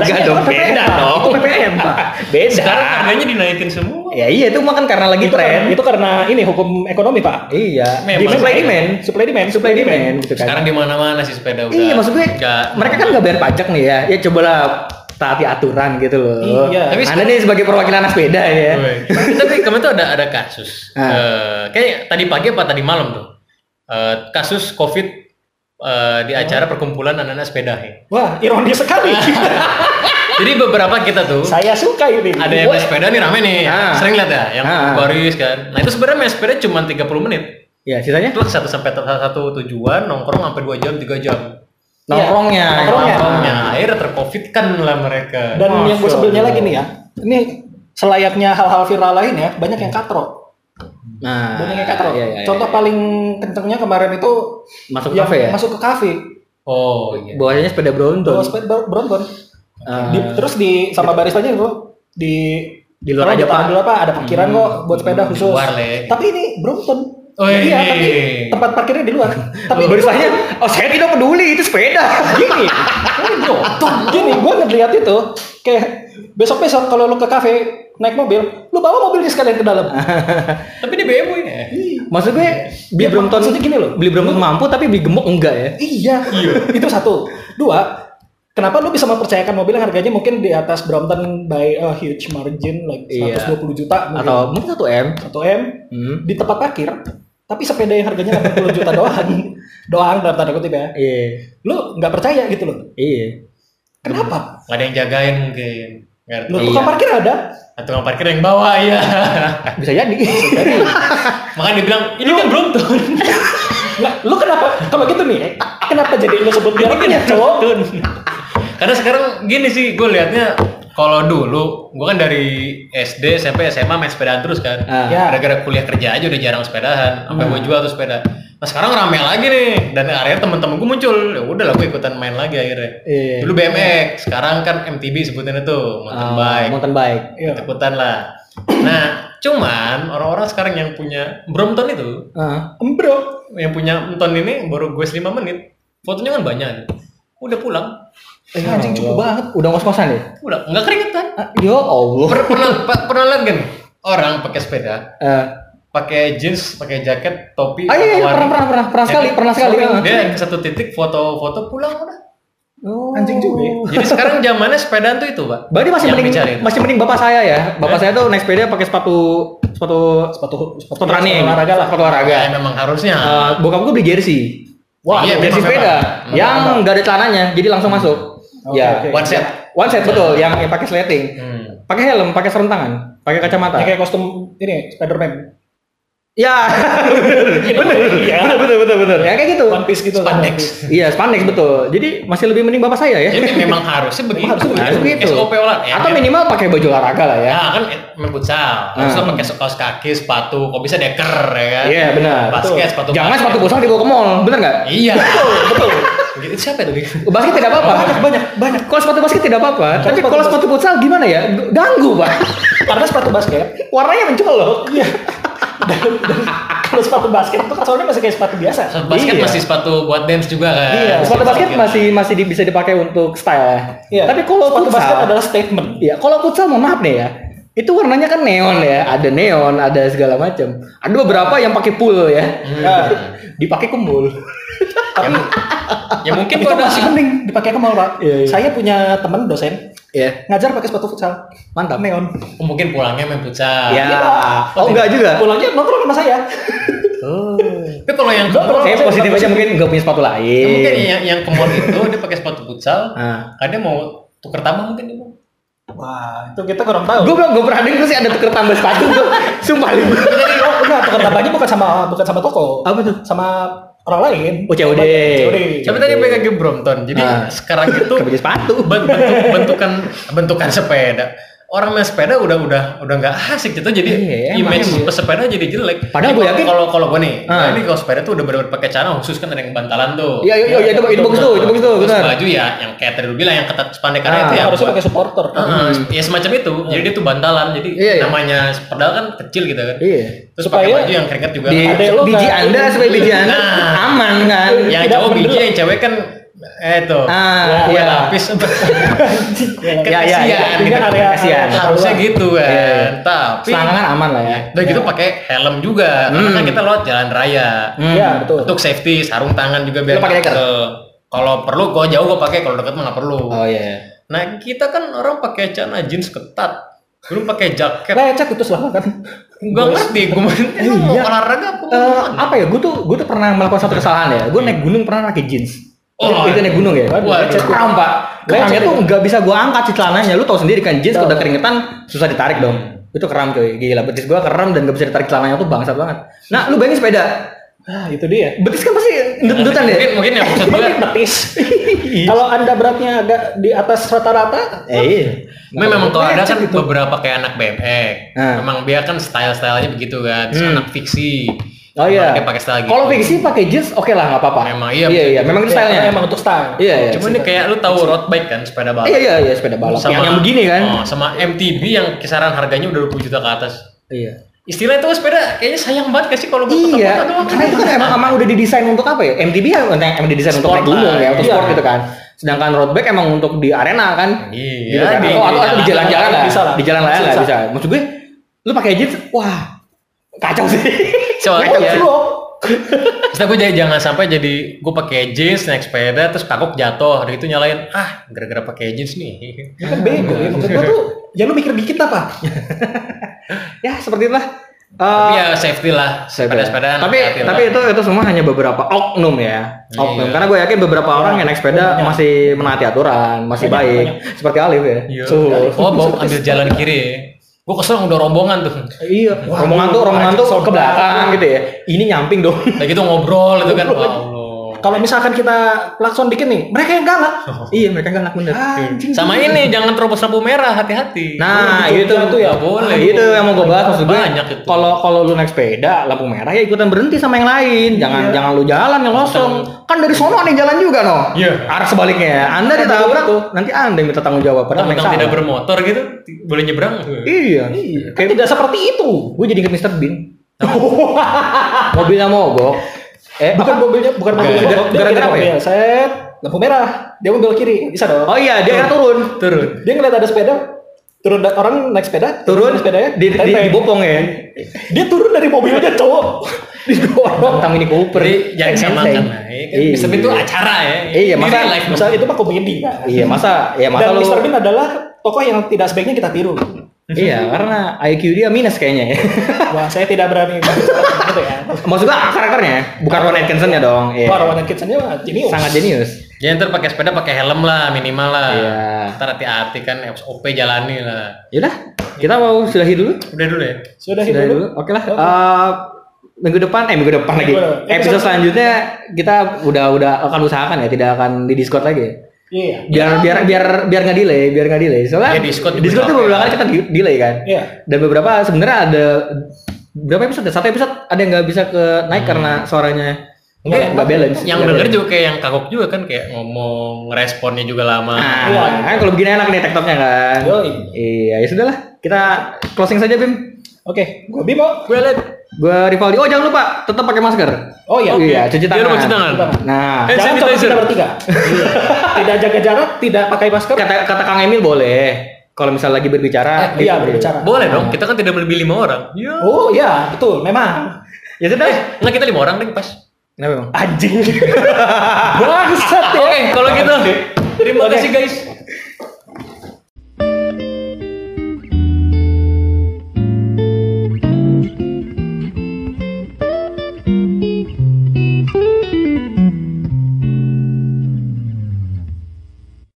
Speaker 3: Enggak dong, beda dong. PPN, Pak. Beda.
Speaker 2: Eh, sekarang kan? harganya dinaikin semua.
Speaker 3: Ya iya itu makan karena lagi
Speaker 1: Itu kan iya. karena,
Speaker 3: tren.
Speaker 1: itu karena ini hukum ekonomi pak.
Speaker 3: Iya.
Speaker 2: Memang.
Speaker 3: Demand supply demand,
Speaker 1: Supply demand.
Speaker 3: supply demand gitu kan.
Speaker 2: Eh, Sekarang di mana-mana sih sepeda udah.
Speaker 3: Iya maksud gue
Speaker 2: nggak-
Speaker 3: mereka kan nggak bayar pajak nih ya. Ya cobalah taati aturan gitu loh.
Speaker 1: Iya.
Speaker 2: Tapi- Iya.
Speaker 3: Anda nih sebagai perwakilan anak sepeda ya.
Speaker 2: tapi tapi kemarin tuh ada ada kasus.
Speaker 3: Ah.
Speaker 2: Eh, kayak tadi pagi apa tadi malam tuh. Eh, kasus Covid eh, di acara perkumpulan anak-anak sepeda. ya.
Speaker 1: Wah, ironis sekali.
Speaker 2: Jadi beberapa kita tuh
Speaker 1: Saya suka ini.
Speaker 2: ada yang main sepeda nih rame nih.
Speaker 3: Ah.
Speaker 2: Sering lihat ya yang
Speaker 3: Ah.
Speaker 2: baris kan. Nah, itu sebenarnya main sepeda cuma 30 menit.
Speaker 3: Ya sisanya
Speaker 2: Itu satu sampai satu, satu tujuan nongkrong sampai 2 jam, 3 jam.
Speaker 3: nongkrongnya.
Speaker 1: Nongkrongnya.
Speaker 2: Nongkrongnya akhirnya tercovid kan lah mereka.
Speaker 1: Dan yang gue
Speaker 3: Masya
Speaker 1: sebelumnya
Speaker 3: Allah.
Speaker 1: lagi nih ya, ini selayaknya hal-hal viral lain ya, banyak yang katro.
Speaker 3: Nah.
Speaker 1: Banyak yang katro.
Speaker 3: iya, iya, iya.
Speaker 1: Contoh paling kencengnya kemarin itu
Speaker 3: masuk
Speaker 1: yang
Speaker 3: kafe ya.
Speaker 1: masuk ke kafe,
Speaker 2: oh iya.
Speaker 3: Bawahnya sepeda Brompton.
Speaker 1: bawa Oh, sepeda ber- Brompton.
Speaker 3: Ah.
Speaker 1: Di- terus di sama baristanya itu di Oh,
Speaker 3: Di luar
Speaker 1: Tolong
Speaker 3: aja,
Speaker 1: ditahan
Speaker 3: Pak. Hmm.
Speaker 1: dulu, Ada parkiran kok buat sepeda
Speaker 2: Di
Speaker 1: khusus.
Speaker 2: luar, Le.
Speaker 1: Tapi ini Brompton.
Speaker 2: Oh,
Speaker 1: Iya,
Speaker 2: ini.
Speaker 1: tapi tempat parkirnya di luar. tapi
Speaker 3: Barisanya, oh saya tidak peduli itu sepeda.
Speaker 1: gini tuh gini gue ngeliat itu kayak besok besok kalau lu ke kafe naik mobil lu bawa mobilnya sekalian ke dalam
Speaker 3: Ah.
Speaker 2: Tapi di BMW ya.
Speaker 3: Maksud gue beli
Speaker 1: Ya,
Speaker 3: Brompton
Speaker 1: maksudnya gini loh.
Speaker 3: Beli Brompton mampu tapi beli gemuk enggak ya?
Speaker 1: iya itu satu dua kenapa lu bisa mempercayakan mobil yang harganya mungkin di atas Brompton by a huge margin like
Speaker 3: Iya.
Speaker 1: 120 juta mungkin,
Speaker 3: Atau mungkin satu M.
Speaker 1: atau M
Speaker 3: Hmm.
Speaker 1: di tempat parkir tapi sepeda yang harganya 80 juta doang doang dalam tanda kutip ya
Speaker 3: Iya.
Speaker 1: lu nggak percaya gitu loh
Speaker 3: Iya.
Speaker 1: kenapa
Speaker 2: Gak ada yang jagain mungkin. Nggak ada.
Speaker 1: lu tukang
Speaker 3: Iya.
Speaker 1: parkir ada
Speaker 2: Nah, tukang parkir yang bawa ya.
Speaker 3: Bisa jadi.
Speaker 2: Makanya dia bilang, ini kan belum tuh.
Speaker 1: Nah, lu kenapa kalau gitu nih kenapa jadi lu sebut
Speaker 3: kan
Speaker 1: mereknya cowok
Speaker 2: Karena sekarang gini sih, gue liatnya kalau dulu, gue kan dari SD, SMP, SMA main sepedaan terus kan.
Speaker 3: Ah.
Speaker 1: Ya.
Speaker 2: Gara-gara kuliah kerja aja udah jarang sepedahan. Sampai gue jual tuh sepeda. Nah sekarang rame lagi nih. Dan akhirnya temen-temen gue muncul. Ya udah lah gue ikutan main lagi akhirnya.
Speaker 3: Iya.
Speaker 2: Dulu BMX, sekarang kan MTB sebutannya tuh. Mountain
Speaker 3: Ah,
Speaker 2: bike.
Speaker 3: Mountain bike.
Speaker 1: Iya.
Speaker 2: Ikut-ikutan lah. Nah, cuman orang-orang sekarang yang punya Brompton itu,
Speaker 3: Ah.
Speaker 1: Bro,
Speaker 2: yang punya Brompton ini baru gue 5 menit. Fotonya kan banyak. nih. Udah pulang.
Speaker 1: eh,
Speaker 3: Ya
Speaker 1: anjing cukup banget.
Speaker 3: Udah ngos-ngosan ya?
Speaker 2: Udah nggak keringetan.
Speaker 3: Ah, Ya Allah.
Speaker 2: Per- pernah pe- pernah lihat kan orang pakai sepeda,
Speaker 3: Eh,
Speaker 2: pakai jeans, pakai jaket, topi,
Speaker 3: Ah, iya, iya,
Speaker 2: warna-
Speaker 3: pernah, pernah, pernah, pernah sekali,
Speaker 1: Eh,
Speaker 3: pernah sekali. Ah.
Speaker 2: Dia ke satu titik foto-foto pulang udah.
Speaker 3: Oh.
Speaker 1: Anjing juga ya.
Speaker 2: Jadi sekarang zamannya sepedaan tuh itu, Pak.
Speaker 3: Berarti masih
Speaker 2: Yang
Speaker 3: mending
Speaker 2: dicari. Eh.
Speaker 3: masih mending bapak saya ya. Bapak saya tuh naik sepeda pakai sepatu sepatu
Speaker 1: Sepatu sepatu
Speaker 3: sepatu running,
Speaker 1: olahraga lah.
Speaker 3: sepatu olahraga.
Speaker 2: Ya, memang harusnya.
Speaker 3: Eh, bokap gue beli jersey.
Speaker 2: Wah, iya,
Speaker 3: jersey
Speaker 2: memang,
Speaker 3: sepeda
Speaker 2: memang.
Speaker 3: yang gak ada celananya, jadi langsung
Speaker 2: Hmm.
Speaker 3: masuk.
Speaker 1: Oke,
Speaker 3: ya.
Speaker 1: oke.
Speaker 2: One set.
Speaker 3: One set betul, yang, yang pakai sleting.
Speaker 2: Hmm.
Speaker 3: Pakai helm, pakai sarung tangan, pakai kacamata.
Speaker 1: Ya, kayak kostum ini Spiderman.
Speaker 3: Ya. bener,
Speaker 1: Iya.
Speaker 3: bener, bener, bener, bener. Ya kayak gitu.
Speaker 1: One Piece gitu.
Speaker 2: Spandex.
Speaker 3: Iya, spandex betul. Jadi masih lebih mending bapak saya ya.
Speaker 2: Jadi memang harusnya begitu. kan?
Speaker 1: Harus
Speaker 3: Nah, begitu.
Speaker 2: SOP olahraga.
Speaker 3: Atau minimal pakai baju olahraga lah ya.
Speaker 2: Ya kan main futsal, terus
Speaker 3: Hmm.
Speaker 2: lo pakai kaos kaki, sepatu, kok bisa deker ya kan?
Speaker 3: Iya, benar.
Speaker 2: Basket, sepatu
Speaker 3: Jangan
Speaker 2: basket.
Speaker 3: sepatu bosan dibawa ke mall, bener nggak?
Speaker 2: Iya. Betul, betul. Itu siapa itu?
Speaker 3: Basket tidak apa-apa.
Speaker 1: Banyak banyak banyak.
Speaker 3: Kalau sepatu basket tidak apa-apa, tapi
Speaker 1: sepatu
Speaker 3: kalau
Speaker 1: basket-
Speaker 3: sepatu futsal gimana ya? G- Ganggu, Pak.
Speaker 1: Karena sepatu basket
Speaker 3: Warnanya mencolok.
Speaker 1: Iya. dan, dan, Kalau sepatu basket itu kan soalnya masih kayak sepatu biasa.
Speaker 2: Sepatu basket
Speaker 3: Iya.
Speaker 2: masih sepatu buat dance juga kan.
Speaker 1: Iya,
Speaker 3: Sepatu basket masih masih di- bisa dipakai untuk style ya.
Speaker 1: Iya.
Speaker 3: Tapi kalau
Speaker 1: sepatu
Speaker 3: futsal-
Speaker 1: basket adalah statement.
Speaker 3: Iya, kalau futsal mohon maaf nih ya. Itu warnanya kan neon ya, ada neon, ada segala macam. Ada beberapa yang pakai pool ya.
Speaker 2: Hmm.
Speaker 1: Nah,
Speaker 3: Dipakai kemul.
Speaker 2: Ya, ya mungkin
Speaker 1: Itu
Speaker 2: kalau ada
Speaker 1: masih mending dipakai ke mall, Pak.
Speaker 3: Iya, iya.
Speaker 1: Saya punya teman dosen
Speaker 3: Iya,
Speaker 1: ngajar pakai sepatu futsal.
Speaker 3: mantap.
Speaker 1: Neon.
Speaker 2: mungkin pulangnya main futsal.
Speaker 3: Ya.
Speaker 1: Iya.
Speaker 3: Oh, enggak juga.
Speaker 1: Pulangnya nongkrong sama saya.
Speaker 2: Tapi kalau yang ke
Speaker 1: Nggak,
Speaker 2: mall,
Speaker 1: kalau-
Speaker 3: Saya positif aja mungkin enggak punya sepatu
Speaker 2: ya mungkin
Speaker 3: lain.
Speaker 2: yang, yang ke mall itu dia pakai sepatu futsal,
Speaker 3: Nah,
Speaker 2: ada mau tuker tambah mungkin itu.
Speaker 1: Wah, itu kita kurang tahu.
Speaker 3: gue belum gue pernah denger sih ada tuker tambah sepatu tuh. Sumpah lu.
Speaker 1: Oh, enggak, tukar tambahnya bukan sama bukan sama toko.
Speaker 3: Apa tuh?
Speaker 1: Sama orang lain.
Speaker 3: Oh, COD.
Speaker 1: COD.
Speaker 2: Siapa tadi yang pegang Brompton? Jadi
Speaker 3: Ah.
Speaker 2: sekarang itu
Speaker 3: Kebeli sepatu.
Speaker 2: ben- bentuk- bentukan bentukan sepeda. Orang main sepeda udah udah udah nggak asik gitu. Jadi
Speaker 3: Iya,
Speaker 2: image
Speaker 3: emang.
Speaker 2: pesepeda jadi jelek.
Speaker 3: Padahal gua
Speaker 2: Jadi kalau-
Speaker 3: yakin-
Speaker 2: kalau kalau gue nih,
Speaker 3: Ah.
Speaker 2: ini kalau sepeda tuh udah benar-benar pakai celana khusus kan ada yang bantalan tuh.
Speaker 3: Iya, iya, iya, itu, itu bagus tuh, itu bagus tuh,
Speaker 2: Terus
Speaker 3: benar.
Speaker 2: baju ya yang kayak tadi lu bilang yang ketat spandek karena
Speaker 3: Ah, Hmm.
Speaker 2: itu ya
Speaker 1: harusnya
Speaker 2: buat-
Speaker 1: pakai supporter.
Speaker 2: Ah, ya semacam itu. Jadi dia tuh bantalan. Jadi
Speaker 3: Iya, iya.
Speaker 2: namanya pedal kan kecil gitu kan.
Speaker 3: Iya.
Speaker 2: Terus
Speaker 1: Supaya-
Speaker 2: pakai baju yang keringat juga. kan.
Speaker 3: Di,
Speaker 1: Adek lu
Speaker 3: biji
Speaker 1: nggak-
Speaker 3: Anda supaya biji Anda
Speaker 2: Nah.
Speaker 3: aman kan.
Speaker 2: yang
Speaker 1: Tidak
Speaker 2: cowok biji
Speaker 1: mendelep.
Speaker 2: yang cewek kan eh itu
Speaker 3: Ah,
Speaker 2: kue
Speaker 3: iya.
Speaker 2: lapis
Speaker 1: Iya,
Speaker 2: Kan
Speaker 3: Iya, iya, iya.
Speaker 2: kasihan.
Speaker 1: Ini kan area
Speaker 3: Kasihan.
Speaker 1: area
Speaker 2: harusnya
Speaker 1: terluar.
Speaker 2: gitu kan
Speaker 3: Iya, iya.
Speaker 2: tapi
Speaker 3: Selangkangan aman lah ya.
Speaker 2: udah gitu pakai helm juga karena
Speaker 3: Hmm.
Speaker 2: kan kita lewat jalan raya
Speaker 3: Hmm.
Speaker 1: Iya, betul.
Speaker 2: untuk safety sarung tangan juga
Speaker 3: Lu
Speaker 2: biar
Speaker 3: pakai dekat?
Speaker 2: nggak ke- kalau perlu gua jauh gua pakai kalau deket mah nggak perlu
Speaker 3: Oh iya.
Speaker 2: nah kita kan orang pakai celana jeans ketat belum pakai jaket
Speaker 1: Lecet itu selama kan.
Speaker 2: nggak ngerti gue mau lu mau
Speaker 3: Iya.
Speaker 2: olahraga apa mau
Speaker 3: Eh,
Speaker 2: makan?
Speaker 3: apa ya gue tuh gue tuh pernah melakukan satu kesalahan ya gue naik gunung pernah pakai jeans
Speaker 2: Hmm. Oh,
Speaker 3: itu naik gunung ya
Speaker 2: waduh.
Speaker 3: lecet kram pak kramnya
Speaker 1: Lecet,
Speaker 3: tuh
Speaker 1: ya?
Speaker 3: nggak bisa gue angkat si celananya lu tau sendiri kan jeans
Speaker 1: Tahu.
Speaker 3: udah keringetan susah ditarik dong itu kram coy gila betis gue kram dan nggak bisa ditarik celananya tuh bangsat banget nah lu bayangin sepeda
Speaker 1: Ah, itu dia.
Speaker 3: betis kan pasti endut-endutan ya
Speaker 2: mungkin mungkin yang maksud gue
Speaker 1: Betis. Kalau Anda beratnya agak di atas rata-rata,
Speaker 3: eh iya
Speaker 2: Memang, memang kalau ada
Speaker 1: Lecet
Speaker 2: kan beberapa kayak anak BMX,
Speaker 3: Nah.
Speaker 2: memang dia kan style-stylenya begitu kan, Terus
Speaker 3: Hmm.
Speaker 2: anak fiksi.
Speaker 3: oh iya
Speaker 2: Dia pakai style gitu.
Speaker 3: kalau fiksi pakai jeans oke lah nggak apa-apa
Speaker 2: Memang, iya,
Speaker 3: iya
Speaker 2: betul.
Speaker 3: iya memang itu
Speaker 1: ya, karena
Speaker 3: stylenya
Speaker 1: emang untuk style.
Speaker 3: iya iya
Speaker 2: Cuma ini kayak lu tahu road bike kan, sepeda balap.
Speaker 3: iya iya iya sepeda balap yang yang begini kan
Speaker 2: Oh, sama MTB yang kisaran harganya udah 20 juta ke atas.
Speaker 3: iya
Speaker 2: Istilah itu sepeda kayaknya sayang banget gak sih kalau gua ke
Speaker 3: Iya,
Speaker 2: tempat doang.
Speaker 3: karena itu kan emang emang udah didesain untuk apa ya? MTB ya untuk emang didesain untuk
Speaker 2: Sport
Speaker 3: naik gunung
Speaker 2: lah,
Speaker 3: ya, untuk
Speaker 2: iya.
Speaker 3: sport gitu kan. Sedangkan road bike emang untuk di arena kan.
Speaker 2: Iya,
Speaker 3: Gitu kan.
Speaker 2: di-
Speaker 3: atau, atau, atau di
Speaker 2: di
Speaker 3: jalan-jalan
Speaker 1: jalan
Speaker 3: lah.
Speaker 1: bisa lah.
Speaker 3: Di jalan
Speaker 1: Bisa,
Speaker 3: raya lah
Speaker 1: bisa.
Speaker 3: bisa. Maksud gue, lu pakai jeans, wah kacau sih.
Speaker 2: Soalnya
Speaker 1: Iya.
Speaker 2: ya,
Speaker 1: Lu,
Speaker 2: Terus gue jadi jangan sampai jadi gue pakai jeans naik sepeda terus kagok jatuh, dari itu nyalain ah gara-gara pakai jeans nih.
Speaker 1: lu kan bego ya. Maksud gua tuh, ya lu mikir dikit apa?
Speaker 3: ya seperti itulah.
Speaker 2: Tapi
Speaker 3: Eh,
Speaker 2: ya safety lah,
Speaker 3: sepeda.
Speaker 2: sepeda-sepedaan.
Speaker 3: tapi
Speaker 2: hati-hati
Speaker 3: tapi
Speaker 2: lah.
Speaker 3: itu itu semua hanya beberapa oknum ya oknum
Speaker 2: Iya.
Speaker 3: karena gue yakin beberapa orang yang naik sepeda masih menaati aturan masih
Speaker 1: Banyak,
Speaker 3: baik
Speaker 1: banyak.
Speaker 3: seperti Alif ya
Speaker 2: Iya.
Speaker 3: Tuh.
Speaker 2: Oh, bawa ambil jalan kiri. ya. Gua kesel udah rombongan tuh.
Speaker 3: Iya, rombongan tuh rombongan tuh ke belakang gitu ya. Ini nyamping dong.
Speaker 2: Udah gitu ngobrol itu kan. Wah, Allah.
Speaker 1: Kalau misalkan kita klakson dikit nih, mereka yang galak. Ah,
Speaker 3: iya, mereka galak bener.
Speaker 1: Anjing.
Speaker 2: Sama ini jangan terobos lampu merah, hati-hati.
Speaker 3: Nah,
Speaker 1: Itu-
Speaker 3: itu
Speaker 1: itu ya,
Speaker 2: Nggak
Speaker 3: Nah,
Speaker 2: boleh.
Speaker 3: itu yang mau gue bahas maksud gue.
Speaker 2: Banyak itu.
Speaker 3: Kalau kalau lu naik sepeda lampu merah ya ikutan berhenti sama yang lain. Jangan
Speaker 1: Iya.
Speaker 3: jangan lu jalan yang kosong. Kan dari sono nih jalan juga no.
Speaker 2: Iya.
Speaker 3: Arah sebaliknya. ya. Anda
Speaker 1: Kan
Speaker 3: ditabrak
Speaker 1: begitu.
Speaker 3: nanti Anda yang minta tanggung jawab padahal yang
Speaker 2: Tentang
Speaker 3: salah.
Speaker 2: tidak bermotor gitu, ti- boleh nyebrang.
Speaker 3: Iya.
Speaker 1: Kan
Speaker 3: Kayak
Speaker 1: tidak seperti itu.
Speaker 3: gue jadi inget Mr. Bean. Ah, Mobilnya mogok. Eh,
Speaker 1: Bukan mobilnya, bukan mobilnya.
Speaker 3: Gara-
Speaker 1: mogok. Dia
Speaker 3: gara-gara
Speaker 1: kira
Speaker 3: apa ya?
Speaker 1: mobilnya, Set, lampu merah. Dia mobil kiri, bisa dong.
Speaker 3: Oh iya, dia akhirnya turun.
Speaker 2: Turun.
Speaker 1: Dia ngeliat ada sepeda, turun da- orang naik sepeda,
Speaker 3: Turun
Speaker 1: sepeda ya,
Speaker 3: di, di, dibopong ya.
Speaker 1: Dia turun dari mobilnya cowok. Didorong.
Speaker 3: Tentang Mini Cooper.
Speaker 2: Jadi jangan
Speaker 3: Sensei.
Speaker 2: samakan lah. ya kan.
Speaker 3: Iya.
Speaker 2: Bisa itu acara ya.
Speaker 3: Iya,
Speaker 2: Ini
Speaker 3: masa-
Speaker 2: real life
Speaker 1: Masa itu mah komedi kan.
Speaker 3: Iya masa ya masa
Speaker 1: Dan
Speaker 3: lu
Speaker 1: Mr. Bean adalah tokoh yang tidak sebaiknya kita tiru.
Speaker 3: iya karena IQ dia minus kayaknya ya.
Speaker 1: Wah, saya tidak berani gitu ya.
Speaker 3: Maksud gua karakternya bukan Ron Atkinson ya dong. Iya.
Speaker 1: Wah, Rowan Atkinson-nya mah jenius.
Speaker 3: Sangat jenius.
Speaker 2: Jangan ntar pakai sepeda pakai helm lah minimal lah.
Speaker 3: Iya.
Speaker 2: Ntar hati-hati kan SOP jalani lah.
Speaker 3: Yaudah kita mau sudahi dulu.
Speaker 2: Udah dulu
Speaker 3: Iya,
Speaker 2: ya.
Speaker 1: Sudah
Speaker 3: Sudahi dulu.
Speaker 1: hidup.
Speaker 3: Oke lah. Eh, minggu depan eh minggu depan lagi.
Speaker 1: Minggu depan.
Speaker 3: Episode selanjutnya kita udah udah akan usahakan ya tidak akan di Discord lagi.
Speaker 1: Iya.
Speaker 3: Biar biar biar biar nggak delay, biar nggak delay. Soalnya
Speaker 2: Ya, Discord juga
Speaker 3: Discord tuh
Speaker 2: capek.
Speaker 3: beberapa kali kita di- delay kan.
Speaker 1: Iya.
Speaker 3: Dan beberapa sebenarnya ada berapa episode? ya? Satu episode ada yang nggak bisa ke naik karena suaranya nggak nggak balance.
Speaker 2: Yang
Speaker 3: Nggak
Speaker 2: denger
Speaker 3: balance.
Speaker 2: juga kayak yang kagok juga kan kayak ngomong responnya juga lama.
Speaker 3: Nah, kan kalau begini enak nih tektoknya kan.
Speaker 1: Ah. Yoi.
Speaker 3: Iya, ya sudahlah. Kita closing saja Bim.
Speaker 1: Oke, gue Bimo.
Speaker 2: Gue liat.
Speaker 3: Gue Rivaldi. Oh jangan lupa tetap pakai masker.
Speaker 1: Oh iya.
Speaker 2: Oke.
Speaker 3: Iya, cuci
Speaker 2: Jangan
Speaker 3: tangan.
Speaker 2: lupa cuci tangan.
Speaker 3: Nah,
Speaker 1: Jangan
Speaker 2: Hand
Speaker 1: sama
Speaker 2: sanitizer.
Speaker 1: kita bertiga.
Speaker 3: Iya.
Speaker 1: tidak jaga jarak, tidak pakai masker.
Speaker 3: kata kata Kang Emil boleh. Kalau misalnya lagi berbicara,
Speaker 1: Eh, iya
Speaker 3: gitu.
Speaker 1: berbicara.
Speaker 2: Boleh dong, kita kan tidak lebih lima orang. Iya.
Speaker 1: Oh iya, betul. Memang.
Speaker 3: Ya
Speaker 1: Eh.
Speaker 3: sudah.
Speaker 2: Enggak kita lima orang deh pas.
Speaker 3: Kenapa emang?
Speaker 1: Anjing. Bangsat ya.
Speaker 2: Oke, kalau gitu. Terima
Speaker 1: Oke.
Speaker 2: kasih guys.